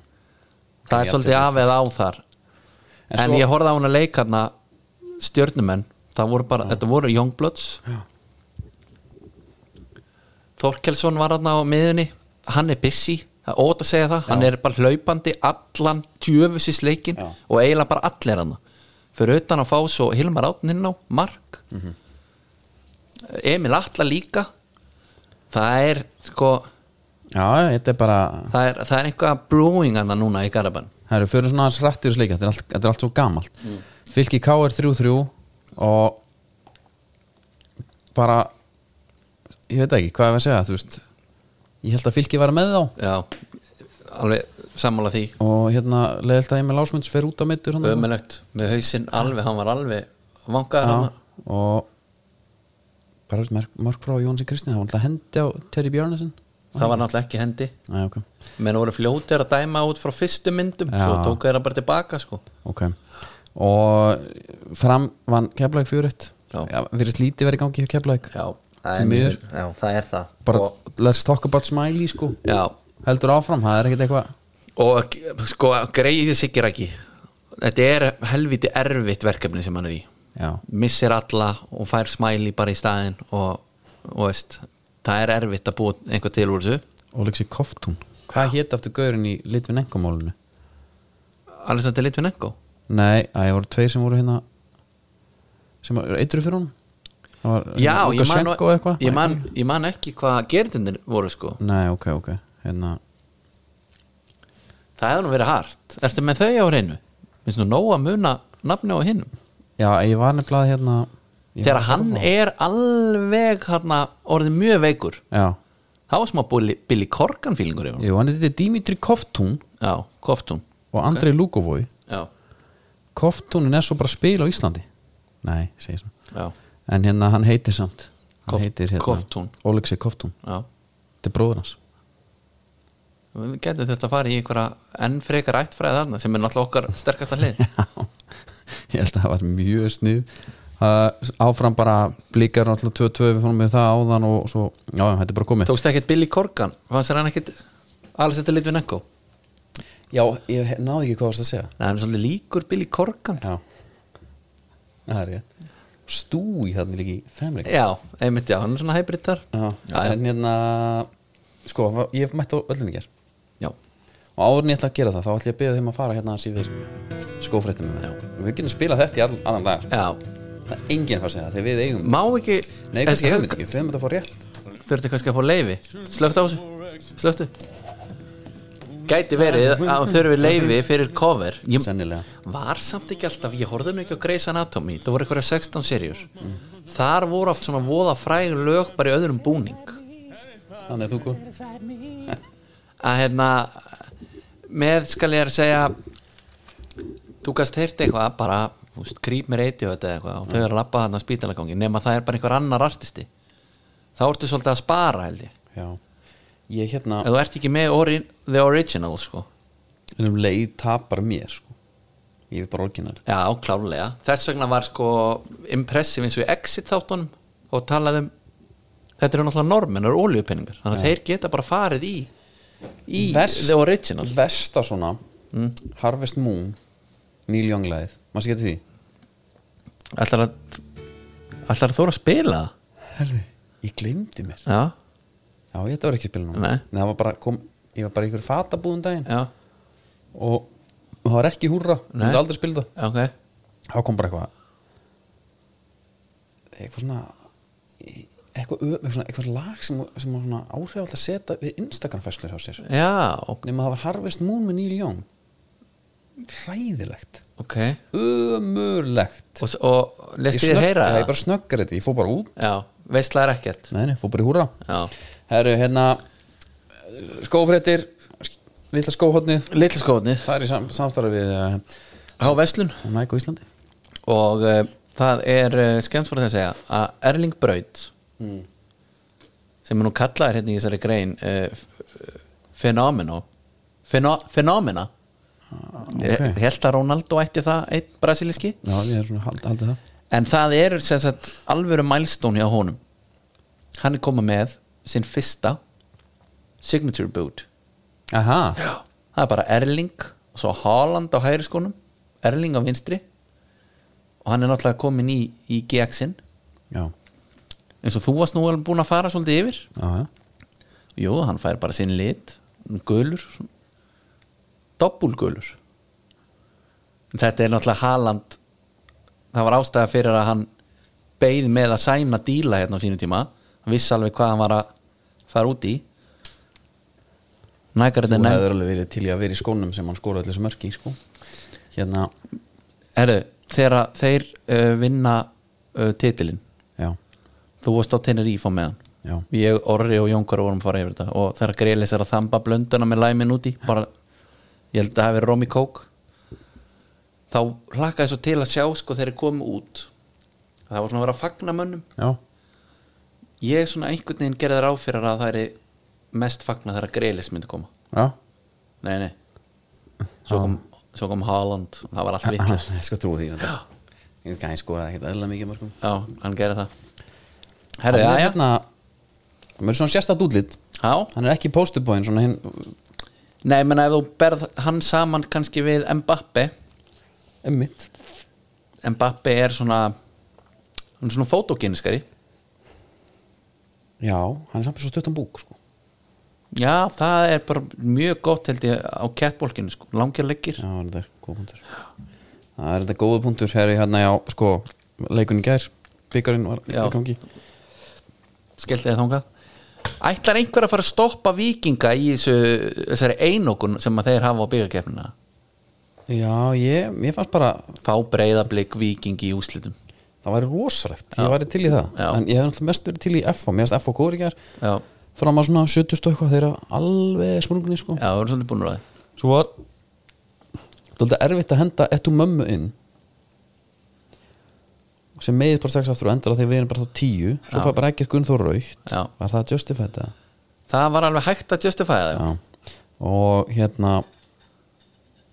[SPEAKER 2] það er svolítið af eða á þar en,
[SPEAKER 1] svo-
[SPEAKER 2] ég horfði á hún að leika hana hérna, stjörnumenn það voru bara, þetta voru Youngbloods
[SPEAKER 1] Já.
[SPEAKER 2] Þorkelsson var hann á miðunni hann er busy, það er ótt að segja það hann er bara hlaupandi allan djöfusis leikin
[SPEAKER 1] Já.
[SPEAKER 2] og eiginlega bara allir hann fyrir utan að fá svo Hilmar Átn inn á Mark
[SPEAKER 1] Mhm.
[SPEAKER 2] Emil Atla líka það er sko
[SPEAKER 1] já, þetta er bara,
[SPEAKER 2] það er, það er einhvað brewing hann núna í Garabæn
[SPEAKER 1] það eru fyrir svona aðeins rættir þessu leika, þetta er allt, þetta er allt svo gamalt fylki K er 3-3 og bara ég veit ekki, hvað er að segja, þú veist ég held að fylki var með þá
[SPEAKER 2] Já, alveg sammála því
[SPEAKER 1] og hérna leðilt að Emil Ásmunds fer út á meittur hann
[SPEAKER 2] ömulegt með hausinn alveg, hann var alveg
[SPEAKER 1] Já,
[SPEAKER 2] vangaður hann
[SPEAKER 1] og bara veist, mark, mark frá Jónsi Kristín það var alltaf hendi á Terry Bjarnason
[SPEAKER 2] það var náttúrulega ekki hendi
[SPEAKER 1] Æ, ok,
[SPEAKER 2] menn voru fljótir að dæma út frá fyrstu myndum
[SPEAKER 1] Já.
[SPEAKER 2] svo tóku þeirra bara tilbaka sko
[SPEAKER 1] ok og fram vann Keflæk fjöritt
[SPEAKER 2] Já.
[SPEAKER 1] verið slítið verið í gangi hjá Keflæk
[SPEAKER 2] já,
[SPEAKER 1] er
[SPEAKER 2] Því miður.
[SPEAKER 1] miður.
[SPEAKER 2] já það er það
[SPEAKER 1] bara
[SPEAKER 2] og,
[SPEAKER 1] let's talk about smiley sko
[SPEAKER 2] já,
[SPEAKER 1] heldur áfram, það er ekkert eitthvað
[SPEAKER 2] og sko greiði sikir ekki þetta er helviti erfitt verkefni sem hann er í
[SPEAKER 1] já,
[SPEAKER 2] missir alla og fær smæli bara í staðin og, og veist það er erfitt að búa einhver til úr þessu
[SPEAKER 1] Oleksi Koftún hvað hétt aftur gaurinn í Litvinenko-málinu?
[SPEAKER 2] Alexander Litvinenko
[SPEAKER 1] Nei, að ég voru tveir sem voru hérna sem var eitru fyrir hún Það var hérna
[SPEAKER 2] já, ég man,
[SPEAKER 1] Lukashenko eitthvað?
[SPEAKER 2] ég, man, ég man ekki hvað gerðinir voru sko
[SPEAKER 1] Nei, ok, ok hérna,
[SPEAKER 2] það hefði nú verið hart ertu með þau á hreinu? minnst nú nóg að muna nafni á hinn
[SPEAKER 1] Já, ég var nefnilega hérna ég
[SPEAKER 2] þegar
[SPEAKER 1] var-
[SPEAKER 2] hann er alveg hana, orðin mjög veikur
[SPEAKER 1] Já,
[SPEAKER 2] það var smá Billy, Billy Corgan fílingur yfir honum.
[SPEAKER 1] jú, hann heiti Dimitri Koftún
[SPEAKER 2] já, koftum
[SPEAKER 1] og Andrei okay. Lukovói
[SPEAKER 2] já,
[SPEAKER 1] Koftúnin er svo bara að spila á Íslandi Nei, segi svo
[SPEAKER 2] já,
[SPEAKER 1] En hérna, hann heitir samt Hann
[SPEAKER 2] Kof-
[SPEAKER 1] heitir hérna
[SPEAKER 2] Koftún.
[SPEAKER 1] Oleksi Koftún,
[SPEAKER 2] já.
[SPEAKER 1] þetta er bróður hans
[SPEAKER 2] við getum þetta að fara í einhverja enn frekar ættfræði þarna sem er náttúrulega okkar sterkasta hlið
[SPEAKER 1] Já, ég held að það var mjög snið uh, áfram bara blikar náttúrulega 2-2 við fórum með það áðan og svo, já, já, þetta er bara komið
[SPEAKER 2] tókst ekkert Billy Corgan fannst þér hann ekkert alls þetta lit við nekko
[SPEAKER 1] Já, ég náði ekki hvað varst að segja
[SPEAKER 2] það er svolítið líkur Billy Corgan
[SPEAKER 1] Já, það er ég Stúi hann líka í femleik
[SPEAKER 2] já, einmitt já, hann er svona hybrid þar
[SPEAKER 1] Já,
[SPEAKER 2] já,
[SPEAKER 1] en hérna sko, hann var- ég hef mætt á öllum í ger
[SPEAKER 2] já,
[SPEAKER 1] og áður en ég ætla að gera það, þá ætla ég að beða þeim að fara hérna að síður skófréttum með það Við getum spilað þetta í all, annan dag sko.
[SPEAKER 2] já.
[SPEAKER 1] Það er enginn að fara að segja það, þegar við eigum
[SPEAKER 2] má ekki
[SPEAKER 1] Nei, kannski hefum þetta ekki, við hefum þetta að fá rétt
[SPEAKER 2] þurfti kannski að fá leifi slögt á þessu, slögtu gæti verið að hann þurfi leifi fyrir cover ég
[SPEAKER 1] Sennilega
[SPEAKER 2] var samt ekki alltaf, ég horfði nú ekki á Grey's Anatomy það voru eitthvað 16 serjur þar voru oft svona voða fræg lög bara í öðrum búning
[SPEAKER 1] Þannig að þú góð
[SPEAKER 2] að hérna með skal ég að segja þú gast heyrt eitthvað bara þú veist, gríp mér eiti og þetta eitthvað og þau eru að labba þarna á spítalagangi nema það er bara einhver annar artisti þá ertu svolítið að spara held ég
[SPEAKER 1] Já, ég hérna
[SPEAKER 2] ef þú ert ekki með ori the original sko
[SPEAKER 1] En um leið tapar mér sko Ég er bara orginal
[SPEAKER 2] já klárlega þess vegna var sko impressive eins og í exit þáttunum og talaði um þetta eru náttúrulega normen og oljupenningar þannig að þeir geta bara farið í í
[SPEAKER 1] Verst-
[SPEAKER 2] the original Mm.
[SPEAKER 1] Vesta svona Harvest Moon Neil Young lagið Maður sé getur því
[SPEAKER 2] ætlar að ætlar að þóra að spila það?
[SPEAKER 1] Herði Ég gleymdi mér
[SPEAKER 2] já
[SPEAKER 1] Já, ég þetta var ekki að spila núna
[SPEAKER 2] Nei.
[SPEAKER 1] það var bara kom Ég var bara í ykkur fatabúðum daginn
[SPEAKER 2] Já,
[SPEAKER 1] Og það var ekki húrra Ég
[SPEAKER 2] Nei.
[SPEAKER 1] myndi aldrei spila það
[SPEAKER 2] ok
[SPEAKER 1] Þá kom bara eitthvað Eitthvað svona Eitthvað, ö- eitthvað, svona, eitthvað lag sem, sem var svona áhrifald að setja við Instagram fæslur hjá sér
[SPEAKER 2] Já, ok,
[SPEAKER 1] nema það var Harvest Moon með Neil Young hræðilegt
[SPEAKER 2] ok.
[SPEAKER 1] ömurlegt
[SPEAKER 2] Og, s- og lest ég
[SPEAKER 1] snögg-
[SPEAKER 2] þér heyra
[SPEAKER 1] Já, ég
[SPEAKER 2] það?
[SPEAKER 1] bara snöggar þetta, ég fór bara út
[SPEAKER 2] Já, veistla er ekkert
[SPEAKER 1] nei, nei, fór bara í húra
[SPEAKER 2] Já.
[SPEAKER 1] herru, hérna skófréttir, litla skóhotnið
[SPEAKER 2] Little skóðnir
[SPEAKER 1] það er í sam samstarfi við uh,
[SPEAKER 2] á Vestlun
[SPEAKER 1] Nike á Íslandi
[SPEAKER 2] og uh, það er uh, skemmt fyrir að segja að Erling Braut sem er nú kallaður hérna í þessari grein uh, fenómeno Fenó, fenómena okay.
[SPEAKER 1] ok.
[SPEAKER 2] held Eh, að Ronaldo ætti það einn brasiliski
[SPEAKER 1] já, ég er svona hald, haldið það
[SPEAKER 2] en það er sem sagt alvöru mælstón hjá honum hann er komað með sinn fyrsta signature boot
[SPEAKER 1] aha,
[SPEAKER 2] það er bara Erling og svo Haaland á hægri skónum Erling á vinstri og hann er náttúrulega komin í, í GX-in
[SPEAKER 1] já,
[SPEAKER 2] eins og þú varst nú alveg búin að fara svolítið yfir
[SPEAKER 1] já, já.
[SPEAKER 2] jú, hann fær bara sinn lit gulur doppulgulur þetta er náttúrulega Haaland það var ástæða fyrir að hann beið með að sæna díla hérna á sínu tíma hann vissi alveg hvað hann var að fara út í nægar
[SPEAKER 1] þú
[SPEAKER 2] þetta nefnd
[SPEAKER 1] hefur alveg verið til í að vera í skónum sem hann skóraði allir sem mörki sko. hérna,
[SPEAKER 2] Herru, þegar að þeir uh, vinna uh, titilin
[SPEAKER 1] já,
[SPEAKER 2] þú varst á Tenerife á meðan
[SPEAKER 1] já
[SPEAKER 2] ég, Orri og Jónkar vorum að fara yfir þetta og þegar Grelis er að þamba blönduna með læmin úti bara ég held að hafi Romy Coke þá hlakkaði svo til að sjá sko þegar þeir komu út það var svona að vera að fagna mönnum
[SPEAKER 1] já,
[SPEAKER 2] ég svona einhvern veginn gerði þar áfyrir að það er mest fagna þegar að Greilis myndi koma
[SPEAKER 1] já
[SPEAKER 2] nei, nei svo kom, svo kom Haaland það var allt vitlis
[SPEAKER 1] Ég sko trú því Ég gæði skoraði ekkert eðla mikið mörgum
[SPEAKER 2] já, hann gerði það
[SPEAKER 1] Hann
[SPEAKER 2] herru,
[SPEAKER 1] er
[SPEAKER 2] já, já,
[SPEAKER 1] hérna Mér er svona sérstætt útlit
[SPEAKER 2] já
[SPEAKER 1] Hann er ekki póstubóin svona hinn
[SPEAKER 2] nei, menn ef þú berð hann saman kannski við Mbappe
[SPEAKER 1] Emmitt
[SPEAKER 2] Mbappe er svona hann er svona fotogeniskari
[SPEAKER 1] Já, hann er samt svo stuttan búk sko
[SPEAKER 2] já, það er bara mjög gott held ég á kettbólkinu sko, langir leggir
[SPEAKER 1] Já, þetta er góð punktur Það er þetta góða punktur Herri hérna já, sko Leikunni gær Byggarinn var í
[SPEAKER 2] Já.
[SPEAKER 1] gangi
[SPEAKER 2] skellti þið þangað ætlar einhver að fara að stoppa vikinga í þessu, þessari einokun sem að þeir hafa á byggakefnina
[SPEAKER 1] Já, ég, ég fannst bara
[SPEAKER 2] fá breyðablík viking í úslitum
[SPEAKER 1] Það væri rosalegt Ég væri til í það
[SPEAKER 2] Já.
[SPEAKER 1] En ég hef náttúrulega mest verið til í FO Mér finnst FO góður í gær
[SPEAKER 2] já,
[SPEAKER 1] Fram að svona 70 og eitthvað Þeirra alveg sprungunni sko
[SPEAKER 2] já, það er svolítið búin ráði
[SPEAKER 1] Svo var Þetta er erfitt að henda ettu mömmu inn og sem meðið bara strax aftur og endur á því að við erum bara þá tíu svo fær bara ekkert Gunnþór raukt
[SPEAKER 2] Já.
[SPEAKER 1] var það justified eða?
[SPEAKER 2] það var alveg hægt að justifæða það já,
[SPEAKER 1] Já. og hérna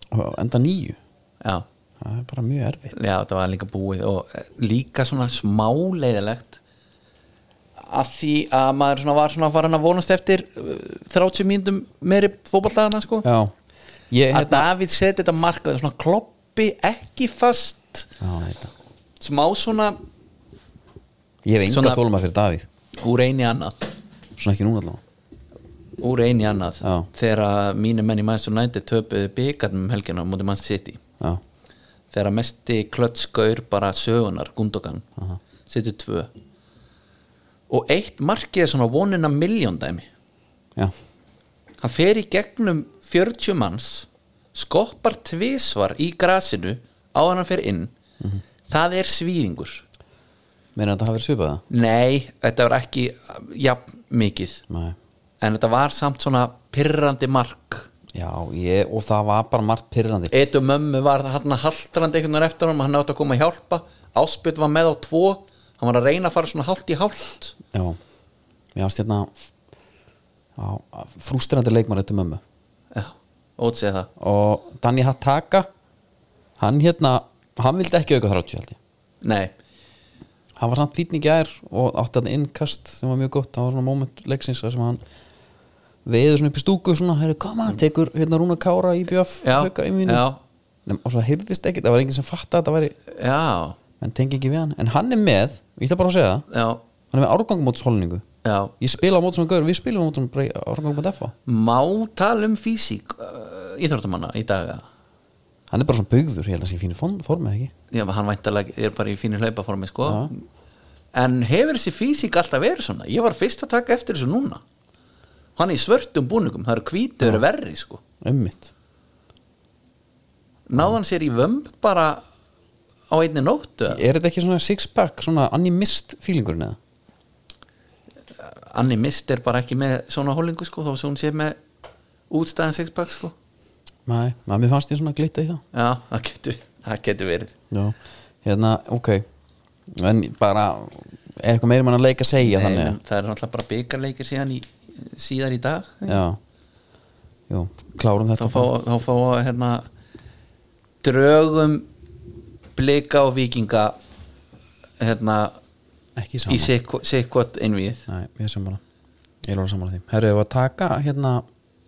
[SPEAKER 1] og enda nýju
[SPEAKER 2] já,
[SPEAKER 1] það er bara mjög erfitt
[SPEAKER 2] já það var líka búið og eh, líka svona smá leiðilegt að því að maður svona var svona farin að vonast eftir eh, 30 mínútum meiri fótballtagana sko
[SPEAKER 1] Já, ég,
[SPEAKER 2] að
[SPEAKER 1] hérna,
[SPEAKER 2] Davíð seti þetta markað svona kloppi ekki fast
[SPEAKER 1] já, þetta.
[SPEAKER 2] smá svona
[SPEAKER 1] ég hef enga
[SPEAKER 2] Svona-
[SPEAKER 1] þólma fyrir Davíð
[SPEAKER 2] úr eini annað
[SPEAKER 1] svona ekki núna allavega
[SPEAKER 2] úr eini annað
[SPEAKER 1] Já.
[SPEAKER 2] þegar að mínir menn í Manchester United töpuðu byggarnum um helgina á móti Manchester City
[SPEAKER 1] Já,
[SPEAKER 2] þegar að mesti klötskaur bara sögunar Gundogan setur tvö og eitt markið er svona vonina miljón dæmi
[SPEAKER 1] já,
[SPEAKER 2] hann fer í gegnum 40 manns skoppar tvisvar í grasinu á hann fer inn það er svíðingur
[SPEAKER 1] meina þetta hafi verið svipað það
[SPEAKER 2] nei, þetta var ekki jafn mikið
[SPEAKER 1] Nei.
[SPEAKER 2] en þetta var samt svona pirrandi mark
[SPEAKER 1] Já, ég, og það var bara margt pyrrandi
[SPEAKER 2] Etu mömmu var hann haldrandi einhvern veginn eftir honum, hann átti að koma að hjálpa Áspjöld var með á tvo hann var að reyna að fara svona hálft í hálft
[SPEAKER 1] Já, mér ást hérna á, frústrandi leikmar eftir mömmu
[SPEAKER 2] Já, ótt segja það
[SPEAKER 1] og Danny Hattaka hann hérna, hann vildi ekki auka 30 held ég,
[SPEAKER 2] Nei,
[SPEAKER 1] hann var samt fýtni gær og átti hann innkast sem var mjög gott, það var svona moment leiksins þar sem hann veður svona upp í stúku svona, herri koma, tekur hérna Rúna Kára í bjöf,
[SPEAKER 2] já,
[SPEAKER 1] í mínu
[SPEAKER 2] já,
[SPEAKER 1] Nefn, og svo heyrðist ekkert, það var enginn sem fatt að þetta væri
[SPEAKER 2] já,
[SPEAKER 1] en tengi ekki við hann, en hann er með og ég ætla bara að segja það,
[SPEAKER 2] já,
[SPEAKER 1] hann er með árgangumótshólningu
[SPEAKER 2] já
[SPEAKER 1] ég spila á mót svona gaur, við spilum á mót svona árgangumót.fa
[SPEAKER 2] Má tala um físík uh, íþróttamanna í dag eða?
[SPEAKER 1] hann er bara svona byggður, ég held að sé í fínu form- formi eða ekki
[SPEAKER 2] Já, hann væntalega er bara í fínu hlaupaformi sko En hefur þessi físík alltaf verið svona? Ég var fyrst að taka eftir þessu núna Hann er í svörtum búningum, það eru hvítur verri sko
[SPEAKER 1] ummitt
[SPEAKER 2] Náðan sér í vömb bara á einni nóttu eða?
[SPEAKER 1] er þetta ekki svona six pack, svona animist feelingurinn eða?
[SPEAKER 2] Anni Mist er bara ekki með svona hólingu sko þó sem hún sé með útstæðan sexpack sko
[SPEAKER 1] Nei, na, mér fannst ég svona glitta í það
[SPEAKER 2] já, það getur, það getur verið
[SPEAKER 1] Já, hérna, ok en bara, er eitthvað meira mann að leika að segja
[SPEAKER 2] Nei,
[SPEAKER 1] þannig
[SPEAKER 2] menn, það er náttúrulega bara byggarleikir síðan í, síðar í dag
[SPEAKER 1] að- Já, jú, klárum
[SPEAKER 2] þá
[SPEAKER 1] þetta
[SPEAKER 2] fá, þá fá hérna drögum blika og vikinga hérna
[SPEAKER 1] ekki
[SPEAKER 2] í
[SPEAKER 1] saman
[SPEAKER 2] sikkot innvíð
[SPEAKER 1] Nei, ég er saman Ég er alveg saman því Herru, ef að taka hérna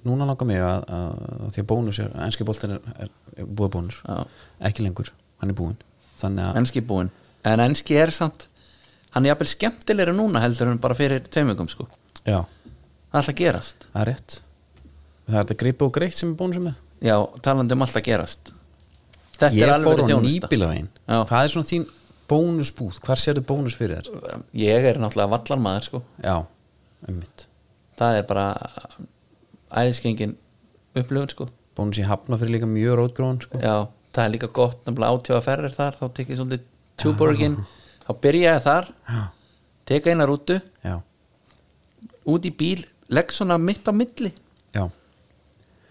[SPEAKER 1] Núna langar mig að, að, að því að bónus er Enski boltin er, er, er búið bónus
[SPEAKER 2] Já.
[SPEAKER 1] Ekki lengur, hann er búinn Þannig að,
[SPEAKER 2] enski búinn, en enski er samt hann er jafnvel skemmtilegri núna heldur en bara fyrir tveimugum sko
[SPEAKER 1] já,
[SPEAKER 2] það er alltaf gerast,
[SPEAKER 1] það er rétt Það er þetta gripa og greitt sem er bónusum með
[SPEAKER 2] já, talandi um alltaf gerast þetta
[SPEAKER 1] ég
[SPEAKER 2] er alveg
[SPEAKER 1] fór á
[SPEAKER 2] verið þjónusta
[SPEAKER 1] nýbílavegin
[SPEAKER 2] Já.
[SPEAKER 1] hvað er svona þín bónusbúð hvar sérðu bónus fyrir þér
[SPEAKER 2] ég er náttúrulega vallarmaður sko
[SPEAKER 1] já, ummitt
[SPEAKER 2] það er bara æðiskengin upplöfun sko
[SPEAKER 1] bónus í hafna fyrir líka mjög rótgróðan sko.
[SPEAKER 2] já, það er líka gott nefnilega átjóða ferðir þar þá tek ég svolítið tjúborgin þá byrja ég þar,
[SPEAKER 1] já,
[SPEAKER 2] teka eina rútu
[SPEAKER 1] já,
[SPEAKER 2] út í bíl, legg svona mitt á milli
[SPEAKER 1] já,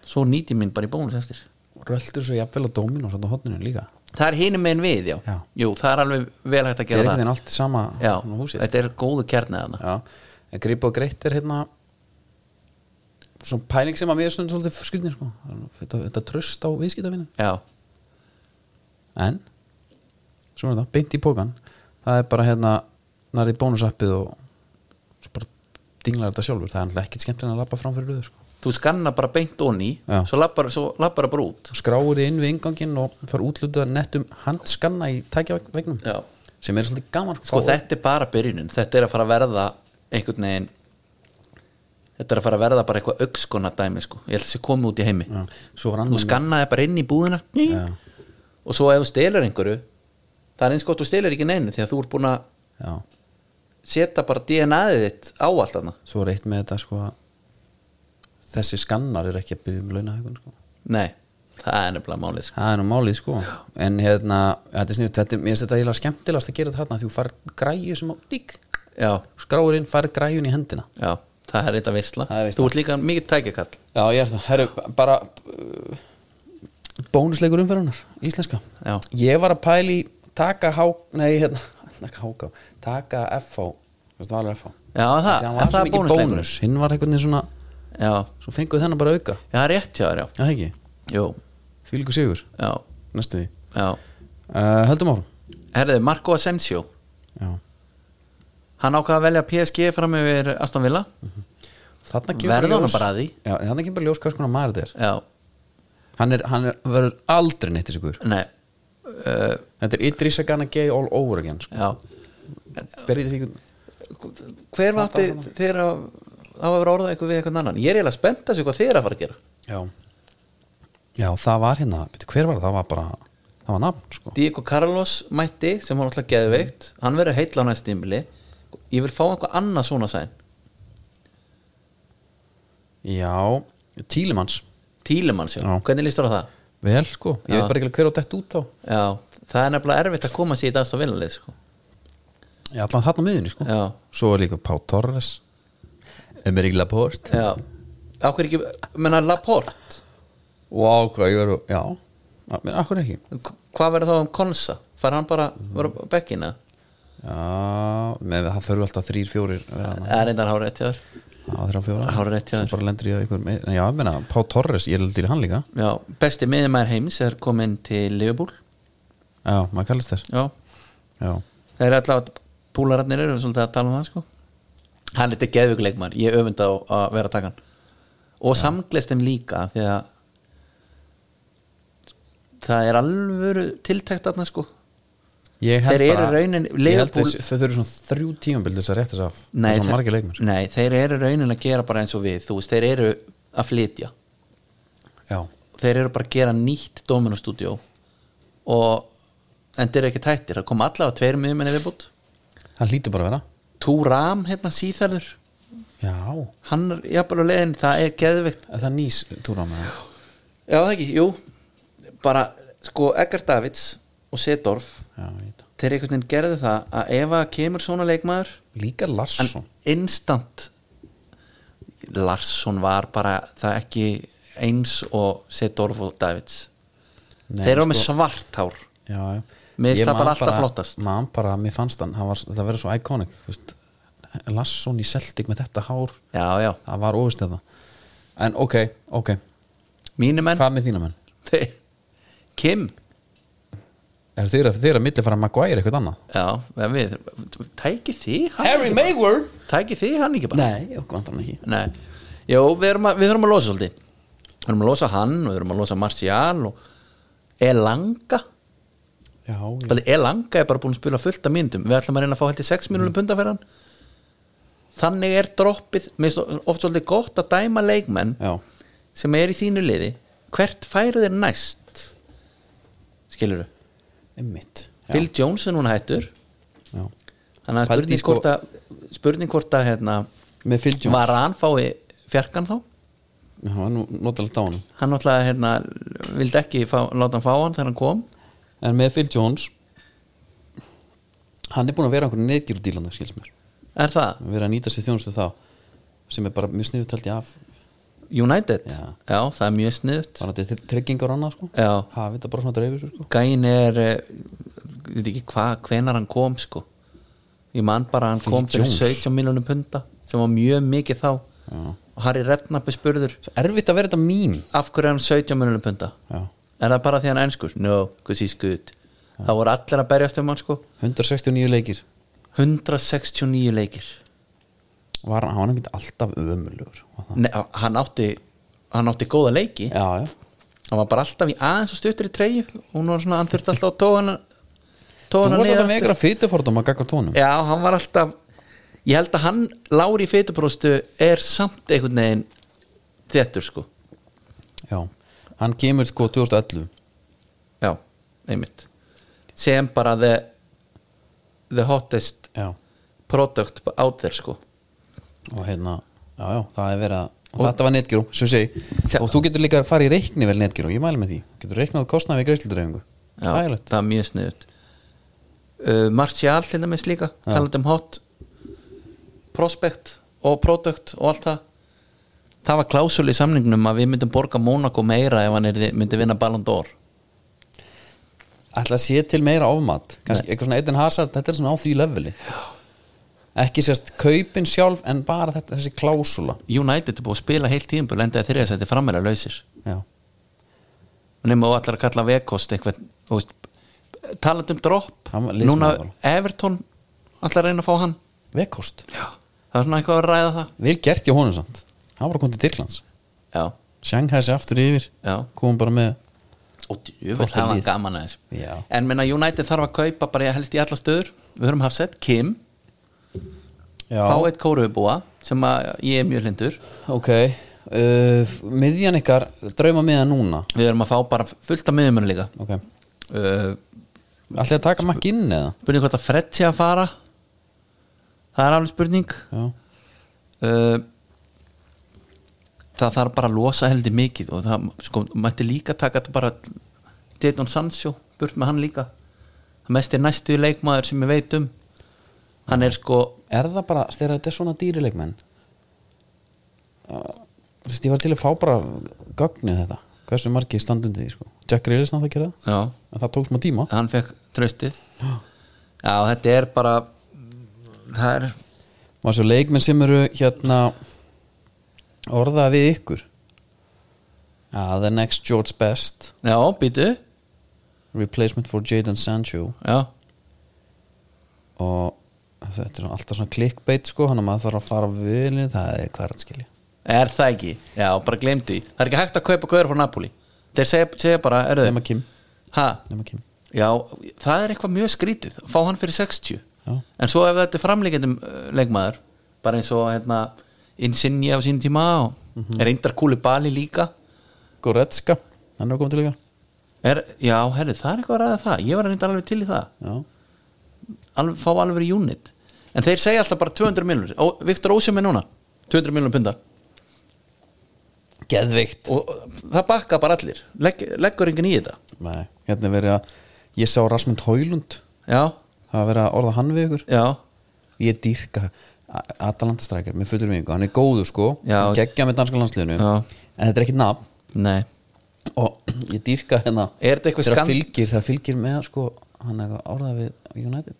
[SPEAKER 2] svo nýti mín bara í bónus eftir
[SPEAKER 1] röldur svo jafnvel á Dominos á hotninu líka
[SPEAKER 2] það er hinum megin við, já.
[SPEAKER 1] Já.
[SPEAKER 2] jú, það er alveg vel hægt að
[SPEAKER 1] það er
[SPEAKER 2] gera
[SPEAKER 1] einhvern
[SPEAKER 2] það
[SPEAKER 1] veginn allt sama
[SPEAKER 2] já,
[SPEAKER 1] svona húsið sko.
[SPEAKER 2] þetta er góðu kjarnið þarna
[SPEAKER 1] Já, en grip og greitt er hérna svona pæling sem að mér er stundum svolítið skrifnir sko þetta, þetta tröst á viðskiptavinu
[SPEAKER 2] já,
[SPEAKER 1] en svona þetta, beint í pókan það er bara hérna nærið bónusappið og svo bara dinglar þetta sjálfur, það er alltaf ekkert skemmtilega að labba fram fyrir röðu sko
[SPEAKER 2] þú skanna bara beint onni,
[SPEAKER 1] Já.
[SPEAKER 2] svo lappar svo lappar það bara út
[SPEAKER 1] Þú skráir þið inn við inganginn og fara útlutað nettum handskanna í tækjavegnum
[SPEAKER 2] já.
[SPEAKER 1] sem er svolítið gaman
[SPEAKER 2] sko þetta er bara byrjunin, þetta er að fara að verða einhvern veginn þetta er að fara að verða bara eitthvað augskona dæmi sko, ég held að þessi komið út í heimi
[SPEAKER 1] Já, svo rann
[SPEAKER 2] þú skannaði bara inn í búðina
[SPEAKER 1] Já.
[SPEAKER 2] og svo ef þú stelur einhverju það er eins gott þú stelur ekki neinu því að þú ert búin að
[SPEAKER 1] Já,
[SPEAKER 2] setja bara DNA-ið þitt á allt þarna
[SPEAKER 1] svo er eitt með þetta sko að þessi skannar er ekki að byggja um launahækun sko
[SPEAKER 2] nei, það er nefnilega málið sko.
[SPEAKER 1] Það er nú málið sko En hérna, þetta er sniðut, þetta er, mér finnst þetta eiginlega skemmtilegast að gera þetta hérna Því þú farir græju sem á lík
[SPEAKER 2] já,
[SPEAKER 1] Skráir inn, farir græjun í hendina
[SPEAKER 2] já, það er eitthvað veistla
[SPEAKER 1] Það er veisla.
[SPEAKER 2] þú ert líka mikið tækjakall
[SPEAKER 1] Já, ég er það, herru, bara uh, Bónusleikur umferðunar, íslenska
[SPEAKER 2] Já.
[SPEAKER 1] Ég var að pæli taka há, nei, hérna, ekki háká Taka FH, veist valur FH
[SPEAKER 2] já, það,
[SPEAKER 1] Því hann var
[SPEAKER 2] en það
[SPEAKER 1] svo
[SPEAKER 2] er
[SPEAKER 1] mikið
[SPEAKER 2] bónusleikur
[SPEAKER 1] bónus Hinn var einhvern veginn svona,
[SPEAKER 2] já,
[SPEAKER 1] svo fenguð þennan bara auka
[SPEAKER 2] já, rétt hjá þér, já,
[SPEAKER 1] Já, það ekki,
[SPEAKER 2] jú,
[SPEAKER 1] því líku sigur
[SPEAKER 2] já,
[SPEAKER 1] Næstu því
[SPEAKER 2] já
[SPEAKER 1] uh, Höldum áfram
[SPEAKER 2] herðið, Marco Asensio
[SPEAKER 1] Já.
[SPEAKER 2] hann ákvað að velja PSG fram yfir Aston Villa
[SPEAKER 1] Þarna kemur
[SPEAKER 2] verða hann
[SPEAKER 1] ljós-
[SPEAKER 2] bara að því
[SPEAKER 1] Já, þannig kemur bara ljós hvers konar maður þetta er
[SPEAKER 2] já,
[SPEAKER 1] Hann, er, hann er, verður aldrei neitt þessi guður
[SPEAKER 2] nei uh,
[SPEAKER 1] Þetta er Idrissa Gana gay all over again sko.
[SPEAKER 2] já
[SPEAKER 1] Berið því
[SPEAKER 2] hver vandi þeir að það var að vera orðað eitthvað við eitthvað annan ég er eiginlega spennt að þessu hvað þeir að fara að gera
[SPEAKER 1] Já Já, það var hérna byrju, Hver var það? Það var bara Það var nafn sko
[SPEAKER 2] Diego Carlos mætti sem var náttúrulega geðveikt hann verið heitla á næst tímili ég vil fá einhvað annað svona sæn
[SPEAKER 1] Já Tílimanns
[SPEAKER 2] Tílemann sér,
[SPEAKER 1] Já.
[SPEAKER 2] hvernig lístur á það?
[SPEAKER 1] Vel sko Ég
[SPEAKER 2] Já.
[SPEAKER 1] veit bara ekki alveg hver á dætt út á
[SPEAKER 2] já, það er nefnilega erfitt að koma sér í dagstof vinnalið sko.
[SPEAKER 1] Já, allan þarna á miðunni sko
[SPEAKER 2] já,
[SPEAKER 1] Svo er líka Pá Torres Emerik Laporte
[SPEAKER 2] já ákveð ekki, menna Laporte
[SPEAKER 1] Vá, hvað ég verður Já Að- Men akkur ekki
[SPEAKER 2] K- hvað verður þá um Konsa? fær hann bara, verður bekkina?
[SPEAKER 1] Já með, Það þurfi alltaf þrýr, fjórir að vera þarna.
[SPEAKER 2] eða reyndar hárið eftir þar
[SPEAKER 1] Já, þrjá, fjóra
[SPEAKER 2] Hárrétt hjá
[SPEAKER 1] Svo
[SPEAKER 2] þér.
[SPEAKER 1] bara lendur ég að ykkur með- Nei, Já, ég meina Pá Torres Ég er alveg til í hann líka
[SPEAKER 2] já, besti miðumæður heims er komin til Liverpool
[SPEAKER 1] Já, maður kallast þér
[SPEAKER 2] já,
[SPEAKER 1] Já
[SPEAKER 2] Það er allavega púlararnir eru svolítið að tala um það sko Hann er þetta geðvikuleikmar, ég öfunda á að vera að taka hann Og samglist þeim líka því að það er alvöru tiltækt þarna sko
[SPEAKER 1] Ég held
[SPEAKER 2] Þeir eru
[SPEAKER 1] bara-
[SPEAKER 2] raunin-
[SPEAKER 1] ég held
[SPEAKER 2] Liverpool-
[SPEAKER 1] þessi- Þau þurfum svona þrjú tímabil þess að rétta þess af
[SPEAKER 2] Nei,
[SPEAKER 1] Og
[SPEAKER 2] þe-
[SPEAKER 1] Svona margir leikmenn sko.
[SPEAKER 2] Nei, þeir eru raunin að gera bara eins og við Þú veist, þeir eru að flytja
[SPEAKER 1] Já,
[SPEAKER 2] Þeir eru bara að gera nýtt Domino Studio og en þeir eru ekki tættir það koma allavega tveir miðmenni viðbútt
[SPEAKER 1] það hlýtur bara að vera
[SPEAKER 2] Túram, hérna, síþærður
[SPEAKER 1] Já,
[SPEAKER 2] hann er jafnvel á leiðin, það er geðveikt
[SPEAKER 1] en það nýs túra með það
[SPEAKER 2] Já, það ekki, jú bara, sko, Eggar Davids og Sedorf,
[SPEAKER 1] Já, ég veit það.
[SPEAKER 2] þeir einhvern veginn gerðu það að ef að kemur svona leikmaður
[SPEAKER 1] Líka Larsson
[SPEAKER 2] en instant Larsson var bara það ekki eins og Sedorf og Davids
[SPEAKER 1] Nei, sko.
[SPEAKER 2] þeir eru með svart hár
[SPEAKER 1] Já, já
[SPEAKER 2] Mér finnst
[SPEAKER 1] Ég
[SPEAKER 2] það bara
[SPEAKER 1] man
[SPEAKER 2] alltaf flottast.
[SPEAKER 1] Man bara, mér fannst hann, hann var, það verður svo iconic þú veist. Larsson í Celtic með þetta hár
[SPEAKER 2] Já, já,
[SPEAKER 1] Það var ofist þetta En ok, ok,
[SPEAKER 2] mínu menn
[SPEAKER 1] hvað með þína menn?
[SPEAKER 2] þeir, Kim
[SPEAKER 1] Er þeirra, þeirra milli fara Maguire eitthvað annað?
[SPEAKER 2] Já, við, tæki því hann,
[SPEAKER 1] Harry Maguire?
[SPEAKER 2] tæki því hann ekki bara
[SPEAKER 1] Nei, okkur vantar hann ekki
[SPEAKER 2] Nei, já, við erum að, við þurfum að losa svolítið Við þurfum að losa hann og við þurfum að losa Martial og Elanga
[SPEAKER 1] Já, já
[SPEAKER 2] Bæði, Elanga Mm. er bara búin að spila fullt af myndum Við ætlum að reyna að fá held í 6 mínúlum pundaferðan Þannig er droppið mér finnst oft svolítið gott að dæma leikmenn
[SPEAKER 1] Já,
[SPEAKER 2] sem er í þínu liði hvert færu þér næst skilurðu
[SPEAKER 1] einmitt Já.
[SPEAKER 2] Phil Jones er núna hættur
[SPEAKER 1] Já.
[SPEAKER 2] þannig að
[SPEAKER 1] Pældi
[SPEAKER 2] spurning
[SPEAKER 1] sko-
[SPEAKER 2] hvort að, spurning hvort að hérna,
[SPEAKER 1] Með Phil Jones
[SPEAKER 2] var hann fái fjarkan þá
[SPEAKER 1] Já, hann nú notalegt á hann
[SPEAKER 2] hann náttúrulega hérna, vildi ekki fá, láta hann fá hann þegar hann kom
[SPEAKER 1] En með Phil Jones Hann er búin að vera einhvern neðgjur dílanda, skils mér
[SPEAKER 2] er það?
[SPEAKER 1] Verið að nýta sér þjónustu þá Sem er bara mjög sniðu taldi af
[SPEAKER 2] United,
[SPEAKER 1] Já.
[SPEAKER 2] það er mjög sniðut
[SPEAKER 1] bara þetta er tryggingar og annað sko
[SPEAKER 2] já,
[SPEAKER 1] hafi þetta bara svona dreifis sko
[SPEAKER 2] gæin er eh, ég veit ekki hvað, hvenar hann kom sko ég man bara að hann
[SPEAKER 1] Phil
[SPEAKER 2] kom fyrir
[SPEAKER 1] Jones.
[SPEAKER 2] 17 miljonum punda sem var mjög mikið þá
[SPEAKER 1] Já.
[SPEAKER 2] og Harry Redknapp er spurður
[SPEAKER 1] Svo erfitt að vera þetta mín
[SPEAKER 2] af hverju er hann 17 miljonum punda
[SPEAKER 1] Já.
[SPEAKER 2] er það bara því hann er enskur? No, because he's good það voru allir að berjast um hann sko
[SPEAKER 1] 169 leikir
[SPEAKER 2] 169 leikir
[SPEAKER 1] var hann, hann ekki alltaf ömulugur var það?
[SPEAKER 2] Nei, hann átti hann átti góða leiki
[SPEAKER 1] já, já,
[SPEAKER 2] hann var bara alltaf í aðeins og stuttur í treyju hún var svona, hann þurfti alltaf að tóa hann
[SPEAKER 1] þú
[SPEAKER 2] tóa hann
[SPEAKER 1] varst
[SPEAKER 2] niður
[SPEAKER 1] alltaf með ykkur að fytu fordóma að gagga tónum
[SPEAKER 2] aftur. já, hann var alltaf ég held að hann, Lári í fytupróstu er samt einhvern veginn þettur sko,
[SPEAKER 1] já, hann kemur sko 2011
[SPEAKER 2] já, einmitt sem bara the the hottest
[SPEAKER 1] já,
[SPEAKER 2] product out there sko
[SPEAKER 1] og hérna já, já, það er verið að og þetta var netgjörú, sem ég segi
[SPEAKER 2] Sjá-
[SPEAKER 1] og þú getur líka að fara í reikni vel netgjörú, ég mæli með því getur reiknað kostnað við greiðsludreifingu
[SPEAKER 2] já,
[SPEAKER 1] þægilegt,
[SPEAKER 2] það er mjög sniðut uh, Martial til dæmis líka
[SPEAKER 1] Já.
[SPEAKER 2] talandi um hot prospect og product og allt það það var klásul í samningnum að við myndum borga Monaco meira ef hann er, myndi vinna Ballon d'Or
[SPEAKER 1] ætla að sé til meira ofmat kannski eitthvað svona Eden Hazard, þetta er svona á því leveli ekki sérst kaupin sjálf en bara þetta, þessi klásula
[SPEAKER 2] United er búið að spila heilt tíðum búið lendaði þriðja sæti frammeira lausir
[SPEAKER 1] já,
[SPEAKER 2] nema þú allar að kalla vekost eitthvað þú veist, talandi um drop
[SPEAKER 1] Hann var liðsmaður
[SPEAKER 2] núna
[SPEAKER 1] bara.
[SPEAKER 2] Everton allar að reyna að fá hann
[SPEAKER 1] vekkost
[SPEAKER 2] já. það er svona eitthvað að ræða það
[SPEAKER 1] vel gert hjá honum samt, hann var að koma til Tyrklands
[SPEAKER 2] já,
[SPEAKER 1] Shanghai sér aftur yfir
[SPEAKER 2] já
[SPEAKER 1] komum bara með
[SPEAKER 2] og djúvel
[SPEAKER 1] Flottur
[SPEAKER 2] hafa hann
[SPEAKER 1] lið.
[SPEAKER 2] gaman aðeins
[SPEAKER 1] Já.
[SPEAKER 2] en menna United þarf að kaupa bara ég helst í alla stöður við höfum haft sett Kim,
[SPEAKER 1] já,
[SPEAKER 2] fá eitt kóruðbúa sem að ég er mjög hlindur
[SPEAKER 1] ok uh, miðjan ykkar, drauma miðan núna
[SPEAKER 2] við höfum að fá bara fullt af miðjumenn líka
[SPEAKER 1] ok,
[SPEAKER 2] uh,
[SPEAKER 1] ætlaði að taka makk inn eða
[SPEAKER 2] spurning hvort að Fred sé að fara það er alveg spurning
[SPEAKER 1] já,
[SPEAKER 2] uh, það þarf bara að losa heldur mikið og það sko, mætti líka taka þetta bara Jadon Sancho, burt með hann líka það mest er næstu leikmaður sem ég veit um hann er sko
[SPEAKER 1] er það bara, þegar þetta er svona dýrileikmenn uh, þú veist, ég var til að fá bara gögnið þetta, hversu margi standundi því sko. Jack Grealish náttúrulega að gera það
[SPEAKER 2] já,
[SPEAKER 1] en það tók smá tíma
[SPEAKER 2] hann fekk tröstið já, þetta er bara það er
[SPEAKER 1] og þessu leikmenn sem eru hérna orðað við ykkur ah, the next George Best
[SPEAKER 2] já, býtu
[SPEAKER 1] replacement for Jadon Sancho
[SPEAKER 2] já,
[SPEAKER 1] og þetta er svona- alltaf svona clickbait sko, hann að maður þarf að fara vilja það er hvað er að skilja
[SPEAKER 2] er það ekki já, bara glemdu því, það er ekki hægt að kaupa gauður frá Napoli þeir segja, segja bara, eru
[SPEAKER 1] nema Kim,
[SPEAKER 2] þau
[SPEAKER 1] nema Kim.
[SPEAKER 2] já, það er eitthvað mjög skrítið að fá hann fyrir 60
[SPEAKER 1] Já.
[SPEAKER 2] en svo ef þetta er framleikendum leikmaður bara eins og hérna Insigne á sínum tíma og
[SPEAKER 1] Mhm.
[SPEAKER 2] er eindar kúli bali líka
[SPEAKER 1] Goretzka, hann er að koma til líka
[SPEAKER 2] er, já, herri, það er eitthvað að ræða það ég var reyndar alveg til í það
[SPEAKER 1] já,
[SPEAKER 2] alveg, fá alveg unit en þeir segja alltaf bara 200 miljonur Viktor Ósjum er núna 200 miljonur pundar
[SPEAKER 1] geðveikt
[SPEAKER 2] og og það bakka bara allir Legg, leggur enginn í þetta
[SPEAKER 1] Nei, hérna er verið að ég sá Rasmund Hólund
[SPEAKER 2] já,
[SPEAKER 1] það að vera að orða hann við ykkur
[SPEAKER 2] já,
[SPEAKER 1] ég dýrka A- Atalanta strækjar með fullur vingu, hann er góður sko
[SPEAKER 2] Já.
[SPEAKER 1] hann geggja með danska landsliðinu
[SPEAKER 2] Já.
[SPEAKER 1] en þetta er ekki nafn
[SPEAKER 2] nei
[SPEAKER 1] og ég dýrka hérna
[SPEAKER 2] Er þetta eitthvað
[SPEAKER 1] Þegar
[SPEAKER 2] skand-
[SPEAKER 1] fylgir, það fylgir með sko, hann er eitthvað orða við United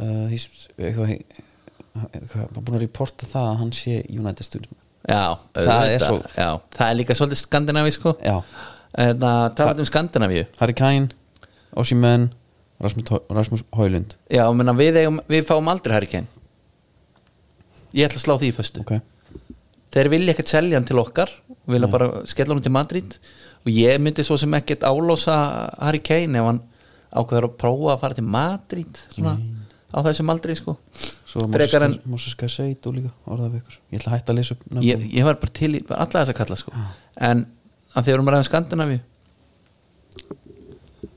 [SPEAKER 1] uh, he's, eitthvað, eitthvað, hann búin að reporta það að hann sé United stundum
[SPEAKER 2] já,
[SPEAKER 1] Það er
[SPEAKER 2] auðvitað,
[SPEAKER 1] svo-
[SPEAKER 2] já, það er líka svolítið skandinavíu sko
[SPEAKER 1] Já.
[SPEAKER 2] en að tala um skandinavíu
[SPEAKER 1] Harry Kane, Ossimen Rasmus, Hau- Rasmus Hólund
[SPEAKER 2] já, menna, við, eigum, við fáum aldrei Harry Kane ég ætla að slá því í föstu
[SPEAKER 1] okay.
[SPEAKER 2] þeir vilja ekkert selja hann til okkar vilja bara skella hann til Madrid og ég myndi svo sem ekkert álása Harry Kane ef hann ákveður að prófa að fara til Madrid svona, á þessum aldrei sko
[SPEAKER 1] Svo
[SPEAKER 2] Frekar en-
[SPEAKER 1] Moses Gasseit og líka orðað við ykkur Ég ætla að hætta að lesa upp nöfnum.
[SPEAKER 2] ég, ég var bara til í bara alla þess að kalla sko en að þegar um ræðum Skandinavíu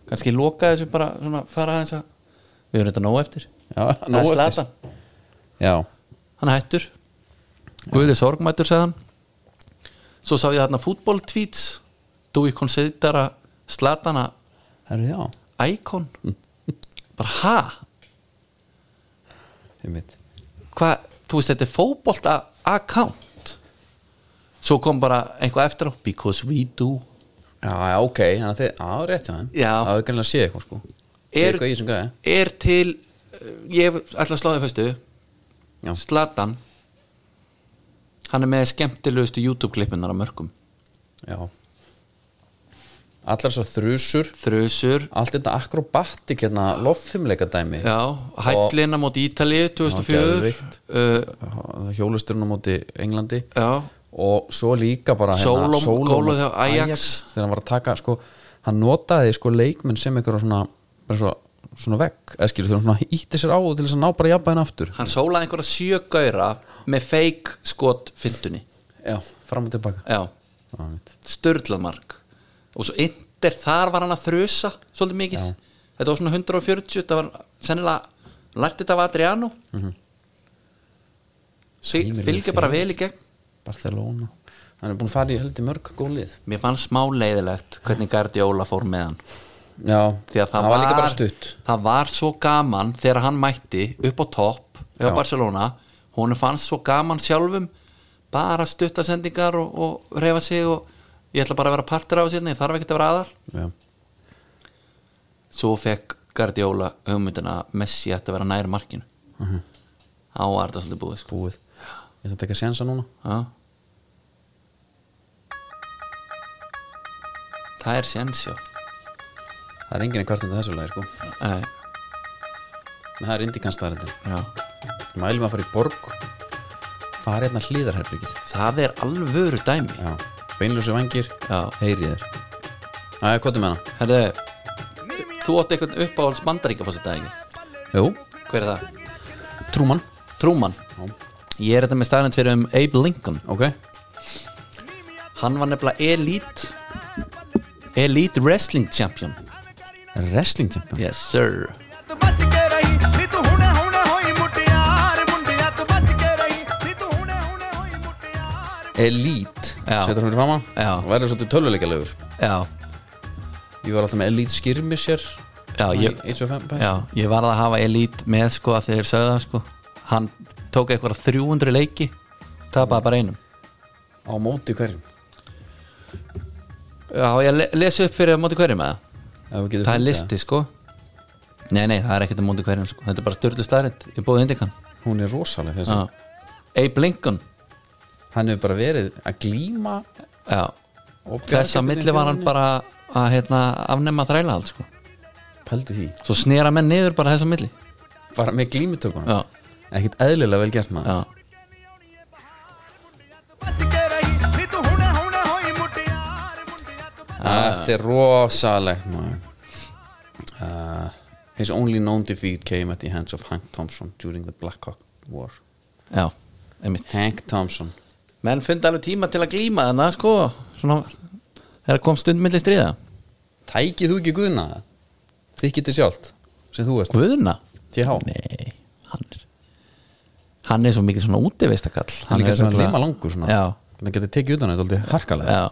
[SPEAKER 2] kannski loka þessu bara svona fara aðeins að við erum þetta nóg eftir
[SPEAKER 1] Já,
[SPEAKER 2] Það
[SPEAKER 1] nóg
[SPEAKER 2] er
[SPEAKER 1] eftir.
[SPEAKER 2] Zlatan.
[SPEAKER 1] Já,
[SPEAKER 2] hann er hættur Guði sorgmættur sagðan svo sá ég þarna fútboltvíts do you consider a Zlatan a
[SPEAKER 1] herru já
[SPEAKER 2] icon bara ha
[SPEAKER 1] Ég mitt
[SPEAKER 2] hvað, þú veist þetta er fótbolt account svo kom bara eitthvað eftir á because we do
[SPEAKER 1] Já, já, ok, þannig að þið, á, rétt hjá þeim
[SPEAKER 2] Já.
[SPEAKER 1] Það er gæmlega að sé eitthvað sko Sé
[SPEAKER 2] Er-
[SPEAKER 1] eitthvað í þessum gæði
[SPEAKER 2] er til eh, ég ætla að slá þig fyrstu
[SPEAKER 1] Já.
[SPEAKER 2] Slatan hann er með skemmtilegustu YouTube-klippunar á mörgum
[SPEAKER 1] Já Allar svo þrjusur
[SPEAKER 2] Þrösur,
[SPEAKER 1] Allt þetta akrobatik hérna loffimleika dæmi
[SPEAKER 2] já, hællina móti Ítalíu 2004
[SPEAKER 1] geðveikt.
[SPEAKER 2] uh,
[SPEAKER 1] Hjólusturinn á móti Englandi
[SPEAKER 2] Já,
[SPEAKER 1] og svo líka bara hérna
[SPEAKER 2] Sólom- gólið hjá
[SPEAKER 1] móti
[SPEAKER 2] Ajax.
[SPEAKER 1] þegar hann var að taka sko, hann notaði sko leikmenn sem einhverja svona, bara svo, svona vekk eða skilur þegar hann svona ítti sér á til þess að ná bara jafnbæðin aftur
[SPEAKER 2] hann sólaði einhverja sjö gauðra með feik skot fyndunni
[SPEAKER 1] já, fram og tilbaka
[SPEAKER 2] Já,
[SPEAKER 1] Já, mitt.
[SPEAKER 2] störlað mark og svo yndir, þar var hann að þrösa svolítið mikið, þetta var svona 140 þetta var sennilega lært þetta af Adriano mm
[SPEAKER 1] Sæmir
[SPEAKER 2] fylgja
[SPEAKER 1] við
[SPEAKER 2] bara
[SPEAKER 1] fyrir.
[SPEAKER 2] vel í gegn
[SPEAKER 1] Barcelona hann er búin að fara í heldur mörg gólið
[SPEAKER 2] mér fannst smá leiðilegt hvernig Guardiola fór með hann
[SPEAKER 1] já,
[SPEAKER 2] því að það,
[SPEAKER 1] var líka bara stutt
[SPEAKER 2] það var svo gaman þegar hann mætti upp á topp hjá
[SPEAKER 1] Já.
[SPEAKER 2] Barcelona hún fannst svo gaman sjálfum bara stuttasendingar og, og reyfa sig og ég ætla bara að vera partur af sérni, þarf ekki að vera aðal
[SPEAKER 1] já,
[SPEAKER 2] svo fekk Guardiola hugmyndina að Messi ætti að vera nær markinu
[SPEAKER 1] Mhm.
[SPEAKER 2] þá var þetta svolítið búið sko.
[SPEAKER 1] búið ég ætla að taka sénsa núna
[SPEAKER 2] Já. það er sjensjó
[SPEAKER 1] það er enginn kvart undir þessu lagi sko en það er indikanstaðarindir mælum að fara í borg fara hérna hlýðarherbyggið
[SPEAKER 2] það er alvöru dæmi
[SPEAKER 1] Já, beinljósi vangir
[SPEAKER 2] Já.
[SPEAKER 1] Heyrið þér Æja, hvað er með hana?
[SPEAKER 2] Herðu, þú átti eitthvað uppáhalds bandaríka fórseta ekki?
[SPEAKER 1] Jú,
[SPEAKER 2] Hver er það?
[SPEAKER 1] Trúman
[SPEAKER 2] Trúman Ég er þetta með staðnætt fyrir um Abe Lincoln
[SPEAKER 1] Ok,
[SPEAKER 2] Hann var nefnilega Elite Elite Wrestling Champion
[SPEAKER 1] wrestling champion
[SPEAKER 2] Yes sir
[SPEAKER 3] ਤੂੰ ਬਚ ਕੇ ਰਹੀ ਨੀ ਤੂੰ ਹੁਣੇ ਹੁਣੇ ਹੋਈ ਮੁਟਿਆਰ ਮੁੰਡਿਆ ਤੂੰ ਬਚ ਕੇ ਰਹੀ ਨੀ ਤੂੰ ਹੁਣੇ ਹੁਣੇ ਹੋਈ ਮੁਟਿਆਰ
[SPEAKER 1] Elite
[SPEAKER 2] Já.
[SPEAKER 1] Setur hann fyrir fama
[SPEAKER 2] Já.
[SPEAKER 1] Og verður svolítið töluleika lögur
[SPEAKER 2] Já,
[SPEAKER 1] Ég var alltaf með Elite skirmisher
[SPEAKER 2] já,
[SPEAKER 1] svona
[SPEAKER 2] ég,
[SPEAKER 1] í 1.5
[SPEAKER 2] já ég varð að hafa Elite með sko að þeir sögðu það sko Hann tók eitthvað 300 leiki Tapaði bara einum
[SPEAKER 1] Á móti hverjum
[SPEAKER 2] Já, ég le- lesi upp fyrir á móti hverjum með það Það er listi sko Nei, nei, það er ekkert á móti hverjum sko Þetta er bara styrlu staðrind Ég búið indikann
[SPEAKER 1] Hún er rosaleg þessi
[SPEAKER 2] Já. Abe Lincoln
[SPEAKER 1] Hann hefur bara verið að glíma
[SPEAKER 2] já.
[SPEAKER 1] og bjarga
[SPEAKER 2] þess að
[SPEAKER 1] hvernig
[SPEAKER 2] milli var hann
[SPEAKER 1] þjóðinni.
[SPEAKER 2] bara að hérna, afnema þræla allt sko.
[SPEAKER 1] Pældi því
[SPEAKER 2] svo snera menn niður bara þess að milli
[SPEAKER 1] Bara með glímutökunum
[SPEAKER 2] já,
[SPEAKER 1] Ekkert eðlilega vel gert maður
[SPEAKER 2] já.
[SPEAKER 3] ਤੂੰ ਬਚ ਕੇ ਰਹੀ ਨੀ ਤੂੰ ਹੁਣੇ ਹੁਣੇ ਹੋਈ ਮੁਟਿਆਰ ਮੁੰਡਿਆ ਤੂੰ
[SPEAKER 1] Þetta er rosalegt maður uh, His only known defeat came at the hands of Hank Thompson during the Black Hawk War
[SPEAKER 2] já, einmitt
[SPEAKER 1] Hank Thompson
[SPEAKER 2] menn fundi alveg tíma til að glíma þannig sko, svona, þegar kom stund milli stríða
[SPEAKER 1] Tækið þú ekki guðna það? Þykir þið sjálft sem þú ert
[SPEAKER 2] Guðna?
[SPEAKER 1] TH
[SPEAKER 2] Nei, hann er hann er svo mikið svona útivistakall
[SPEAKER 1] Hann er líka svona
[SPEAKER 2] nefnilega-
[SPEAKER 1] lima langur svona
[SPEAKER 2] já,
[SPEAKER 1] Þannig getið tekið utan um þetta aldrei harkalega
[SPEAKER 2] já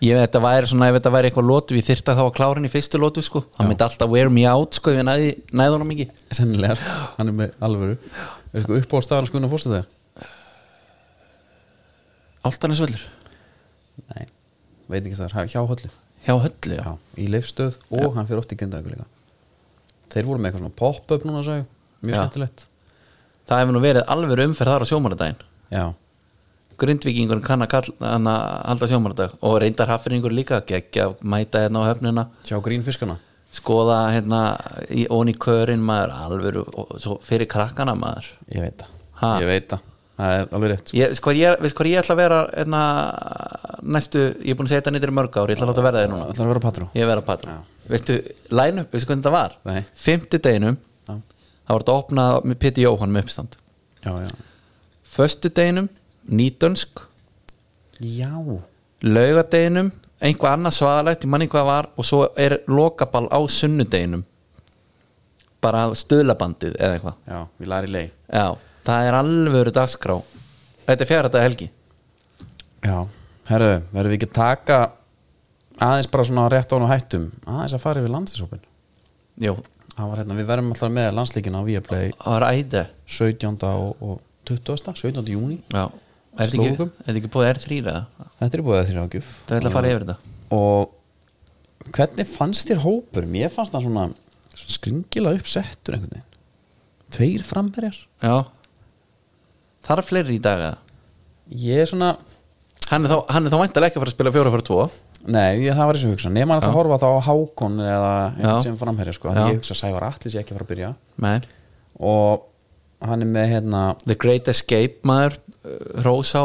[SPEAKER 2] Ég veit að væri svona, ef þetta væri eitthvað lótu Ég þyrta þá að klára henni í fyrstu lótu sko Hann myndi alltaf wear me out sko, ef ég næði, næði honum ekki
[SPEAKER 1] Sennilegar, hann er með alvöru Er sko upp á staðan skoðun að fórstu þegar?
[SPEAKER 2] Áltanesvöllur
[SPEAKER 1] Nei, veit ekki staðar, hjá höllu
[SPEAKER 2] Hjá höllu, já.
[SPEAKER 1] Já, í leifstöð og hann fyrir oft í grindaðugur líka Þeir voru með eitthvað svona pop-up núna sagði, mjög
[SPEAKER 2] Já.
[SPEAKER 1] skemmtilegt
[SPEAKER 2] Það hefur nú verið alveg umferð þar á sjómanadaginn
[SPEAKER 1] Já,
[SPEAKER 2] Grindvíkingurinn kann að kall, hann að halda sjómanadag og reyndar hafferingur líka geggja að mæta hérna á höfnina
[SPEAKER 1] Sjá grínfiskana
[SPEAKER 2] skoða hérna í ón í körin maður alveg og svo fyrir krakkana maður
[SPEAKER 1] Ég veit það
[SPEAKER 2] Ha?
[SPEAKER 1] Ég veit það Það er alveg rétt sko.
[SPEAKER 2] ég, sko, ég, veist hvað ég ætla að vera hérna, næstu, ég er búin að segja þetta nýttir mörg ár ég ætla að láta verða þér núna
[SPEAKER 1] Það er að vera patrú
[SPEAKER 2] ég er að vera patrú, veistu, line up veistu hvernig þetta var,
[SPEAKER 1] Nei.
[SPEAKER 2] fimmtudeginum
[SPEAKER 1] Já.
[SPEAKER 2] það var þetta opnað með Pitti Jóhann með uppstand,
[SPEAKER 1] Já, já
[SPEAKER 2] föstudeginum nýtönsk
[SPEAKER 1] Já
[SPEAKER 2] laugadeginum einhvað annað svaðalegt, ég manni hvað var og svo er lokaball á sunnudeginum bara stöðlabandið eða eitthvað,
[SPEAKER 1] Já, við lari lei
[SPEAKER 2] já, það er alvöru dagskrá, þetta er fjara dag helgi
[SPEAKER 1] Já Herru, verðum við ekki að taka aðeins bara svona rétt án og hættum aðeins að fara yfir landslíkshópin
[SPEAKER 2] jú,
[SPEAKER 1] Það var hérna, við verðum alltaf með landslíkina á Viaplay
[SPEAKER 2] það er æði
[SPEAKER 1] 17. og, og 20. 17. júni
[SPEAKER 2] já, Er þetta ekki,
[SPEAKER 1] Slóvökum.
[SPEAKER 2] er þetta ekki búið R3 eða?
[SPEAKER 1] Þetta er búið að þér ágjöf
[SPEAKER 2] Það vil að fara yfir þetta
[SPEAKER 1] Og hvernig fannst þér hópur? Mér fannst það svona, svona skringila uppsettur einhvern veginn Tveir framherjar
[SPEAKER 2] Já Þarf fleiri í dag eða?
[SPEAKER 1] Ég er svona,
[SPEAKER 2] Hann er þá, hann er þá væntalega ekki að fara að spila 4 fyrir 2
[SPEAKER 1] nei ég, það var þessu hugsa Nefn að það horfa þá á Hákon eða
[SPEAKER 2] Já.
[SPEAKER 1] einhvern sem framherjar sko
[SPEAKER 2] Já.
[SPEAKER 1] Þannig ég hugsa að Sævar Atli sé ekki að fara að byrja
[SPEAKER 2] Nei
[SPEAKER 1] Og hann er með hérna
[SPEAKER 2] The Great Escape maður uh, Rós á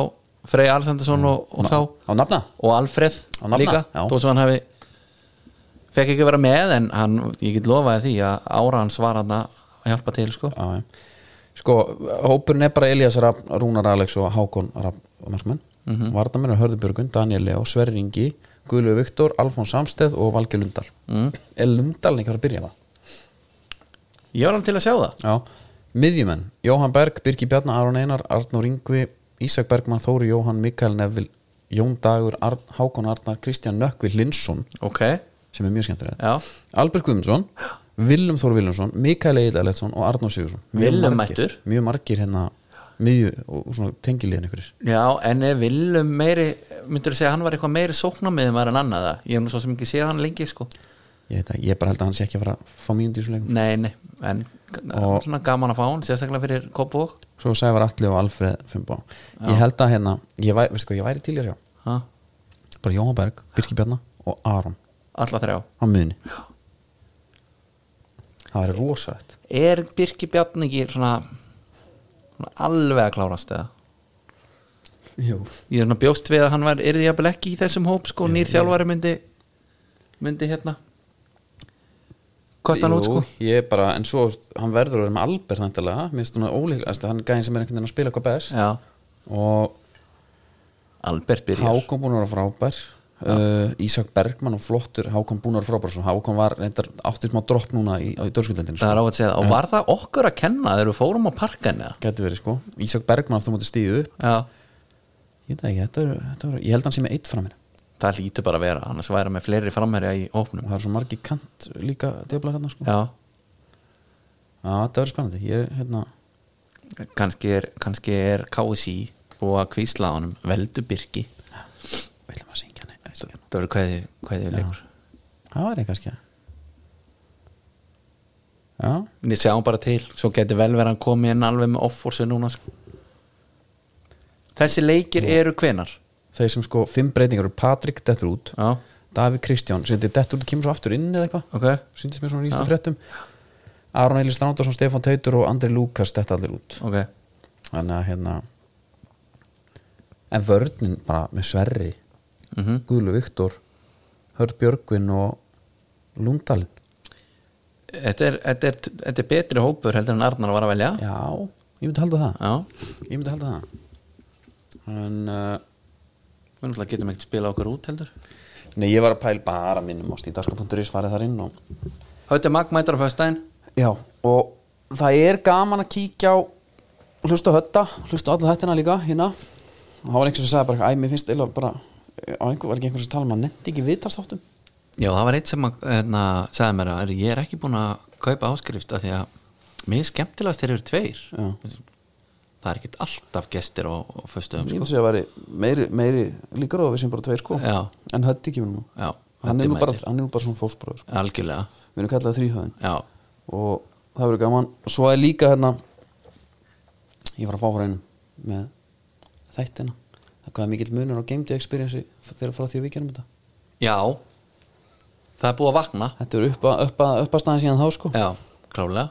[SPEAKER 2] Frey Alessandarsson og, og þá
[SPEAKER 1] Á nafna
[SPEAKER 2] og Alfreð
[SPEAKER 1] Á nafna,
[SPEAKER 2] líka
[SPEAKER 1] já.
[SPEAKER 2] þó sem hann hafi fekk ekki að vera með en hann, ég get lofaði því að ára hans var hann að hjálpa til sko.
[SPEAKER 1] Já, já. Sko, hópurinn er bara Elías Rapp, Rúnar Alex og Hákon Rapp og markmenn, mm
[SPEAKER 2] Mhm.
[SPEAKER 1] -hmm. Vardamenn er Hörðubjörgun, Daniel Leó, Sverringi Guðlu Viktor, Alfons Samsteð og Valgeir Lundal
[SPEAKER 2] Mhm.
[SPEAKER 1] mm. Er Lundal ekki að fara að byrja það?
[SPEAKER 2] ég var hann til að sjá það
[SPEAKER 1] Já, miðjumenn Jóhann Berg, Birgi Bjarna, Aron Einar, Arnur Ingvi Ísak Bergmann, Þóri Jóhann, Mikael Neville Jón Dagur, Arn, Hákon Arnar Kristján Nökkvi Linsson
[SPEAKER 2] ok,
[SPEAKER 1] sem er mjög skemmtur
[SPEAKER 2] já,
[SPEAKER 1] Albert Guðmundsson, Willum Þór Willumsson Mikael Egil Eletsson og Arnó Sigursson Mjög
[SPEAKER 2] Willum
[SPEAKER 1] margir-
[SPEAKER 2] mættur.
[SPEAKER 1] Mjög margir hérna miðju og og svona tengiliðin ykkur
[SPEAKER 2] já en ef Willum meiri, myndur þú segja að hann var eitthvað meiri sóknamiðum en annað það, ég hef nú svo sem ekki séð hann lengi sko,
[SPEAKER 1] ég, veit það, ég bara held að hann sé ekki að fara að fá mínúti í þessum leikum
[SPEAKER 2] nei, nei en
[SPEAKER 1] Og-
[SPEAKER 2] svona gaman að fá hann, sérstaklega fyrir Kópavók
[SPEAKER 1] Svo Sævar Atli og Alfreð Fimbo Ég held að hérna, ég, væ, veistu hvað, ég væri til í að sjá
[SPEAKER 2] Ha?
[SPEAKER 1] bara Jóhann Berg, Birki Bjarna og Aron
[SPEAKER 2] alla þrjá
[SPEAKER 1] á miðunni Það væri rosalegt
[SPEAKER 2] er Birki Bjarni ekki svona, svona alveg að klárast eða
[SPEAKER 1] Jú.
[SPEAKER 2] ég er svona bjóst við að hann var yrði jafnvel ekki í þessum hóp sko, nýr þjálfari myndi myndi hérna kottan út sko
[SPEAKER 1] Ég bara, en svo hann verður að vera með Albert nættilega, mér finnst þannig ólíkast hann gæðin sem er einhvern veginn að spila eitthvað best
[SPEAKER 2] já,
[SPEAKER 1] og
[SPEAKER 2] Albert byrjar
[SPEAKER 1] Hákon búin að vera frábær uh, Ísak Bergmann og flottur Hákon búin að vera frábær svo Hákon var reyndar átti smá dropp núna í, á- í dörskundlendin sko.
[SPEAKER 2] það er á að segja það. og var það okkur að kenna þegar við fórum á parkan eða
[SPEAKER 1] gæti verið sko Ísak Bergmann aftur mútið stíðu upp
[SPEAKER 2] já,
[SPEAKER 1] ég, veit það ekki, þetta er, þetta er, ég held hann sem er eitt fram mér
[SPEAKER 2] það lítur bara að vera annars væri hann með fleiri framherja í
[SPEAKER 1] og
[SPEAKER 2] hópnum
[SPEAKER 1] það er svo margi kant líka djöflar hérna sko já,
[SPEAKER 2] já,
[SPEAKER 1] þetta verður spennandi ég er hérna
[SPEAKER 2] kannski er kannski er KSI og að kvísla á honum veldu Birki
[SPEAKER 1] við ætlum að syngja nei, ætla ekki.
[SPEAKER 2] það verður kveði, kveði leikur
[SPEAKER 1] það væri kannski já
[SPEAKER 2] ég sjáum bara til, svo geti vel verið hann komið inn alveg með offorsu núna sko. þessi leikir eru hvenar
[SPEAKER 1] þeir sem sko fimm breytingar eru Patrik dettur út
[SPEAKER 2] já,
[SPEAKER 1] Davík Kristján sem þetta er dettur út kemur svo aftur inn eða eitthvað
[SPEAKER 2] ok
[SPEAKER 1] síndist mér svona nýstu fréttum Aron Eilir Strandarsson, Stefán Teitur og Andri Lukas þetta allir út
[SPEAKER 2] ok,
[SPEAKER 1] þannig að hérna en vörnin bara með Sverri mm
[SPEAKER 2] Mhm.
[SPEAKER 1] -hmm. Guðlu Viktor Hörð Björgvin og Lundalinn
[SPEAKER 2] þetta er, þetta, er, þetta er betri hópur heldur en Arnar var að velja já,
[SPEAKER 1] já, ég myndi halda það ég myndi halda það en uh,
[SPEAKER 2] við náttúrulega getum ekkert spila okkur út heldur
[SPEAKER 1] nei, ég var að pæla bara minnum á stíðdagskan.is farið þar inn og
[SPEAKER 2] Hauti Mag mætar á föstæðin
[SPEAKER 1] Já, og það er gaman að kíkja á hlusta á hötta, hlusta á alla hættina líka hérna og það var einhver sem sagði bara, æ, mér finnst eila bara á einhver, var ekki einhver sem tala um að nefndi ekki viðtalstáttum
[SPEAKER 2] já, það var eitt sem að, hérna, sagði mér að "Herri, ég er ekki búin að kaupa áskrift af því að mér er skemmtilegast þeir eru tveir
[SPEAKER 1] Já.
[SPEAKER 2] það er ekkert alltaf gestir á, á föstæðum
[SPEAKER 1] Ég
[SPEAKER 2] sko.
[SPEAKER 1] finnst að það væri meiri, meiri líkur á að við sem bara tveir sko
[SPEAKER 2] Já.
[SPEAKER 1] en hötti ekki nú
[SPEAKER 2] Já,
[SPEAKER 1] hann er
[SPEAKER 2] Höddi
[SPEAKER 1] nú bara,
[SPEAKER 2] mætir.
[SPEAKER 1] hann er nú bara svona fósbróð sko.
[SPEAKER 2] algjörlega,
[SPEAKER 1] við erum kallað þrýhöðin
[SPEAKER 2] já,
[SPEAKER 1] og það verður gaman svo er líka hérna ég var að fá frá einum með þættina það hvað er mikill munur á game day experience þegar frá því að við gerum þetta
[SPEAKER 2] já það er búið að vakna
[SPEAKER 1] Þetta er uppa, uppa, uppastæðin síðan þá sko
[SPEAKER 2] Já, klálega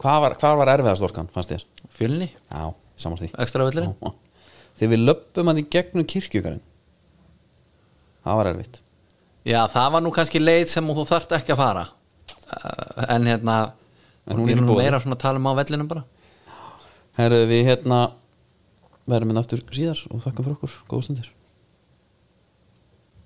[SPEAKER 1] Hvað var, hvað var erfiðast orkan, fannst þér?
[SPEAKER 2] Fjölni,
[SPEAKER 1] Já, samar því
[SPEAKER 2] ekstra völlurinn
[SPEAKER 1] Já. Þegar við löppum hann í gegnum kirkjugarinn Það var erfitt
[SPEAKER 2] Já, það var nú kannski leið sem þú þarft ekki að fara Uh, En hérna
[SPEAKER 1] En
[SPEAKER 2] En
[SPEAKER 1] hún
[SPEAKER 2] hún
[SPEAKER 1] er í
[SPEAKER 2] er nú
[SPEAKER 1] boði.
[SPEAKER 2] meira svona að tala um á vellinum bara
[SPEAKER 1] hérna Herðu við hérna verðum við aftur síðar og þakka fyrir okkur, góða stundir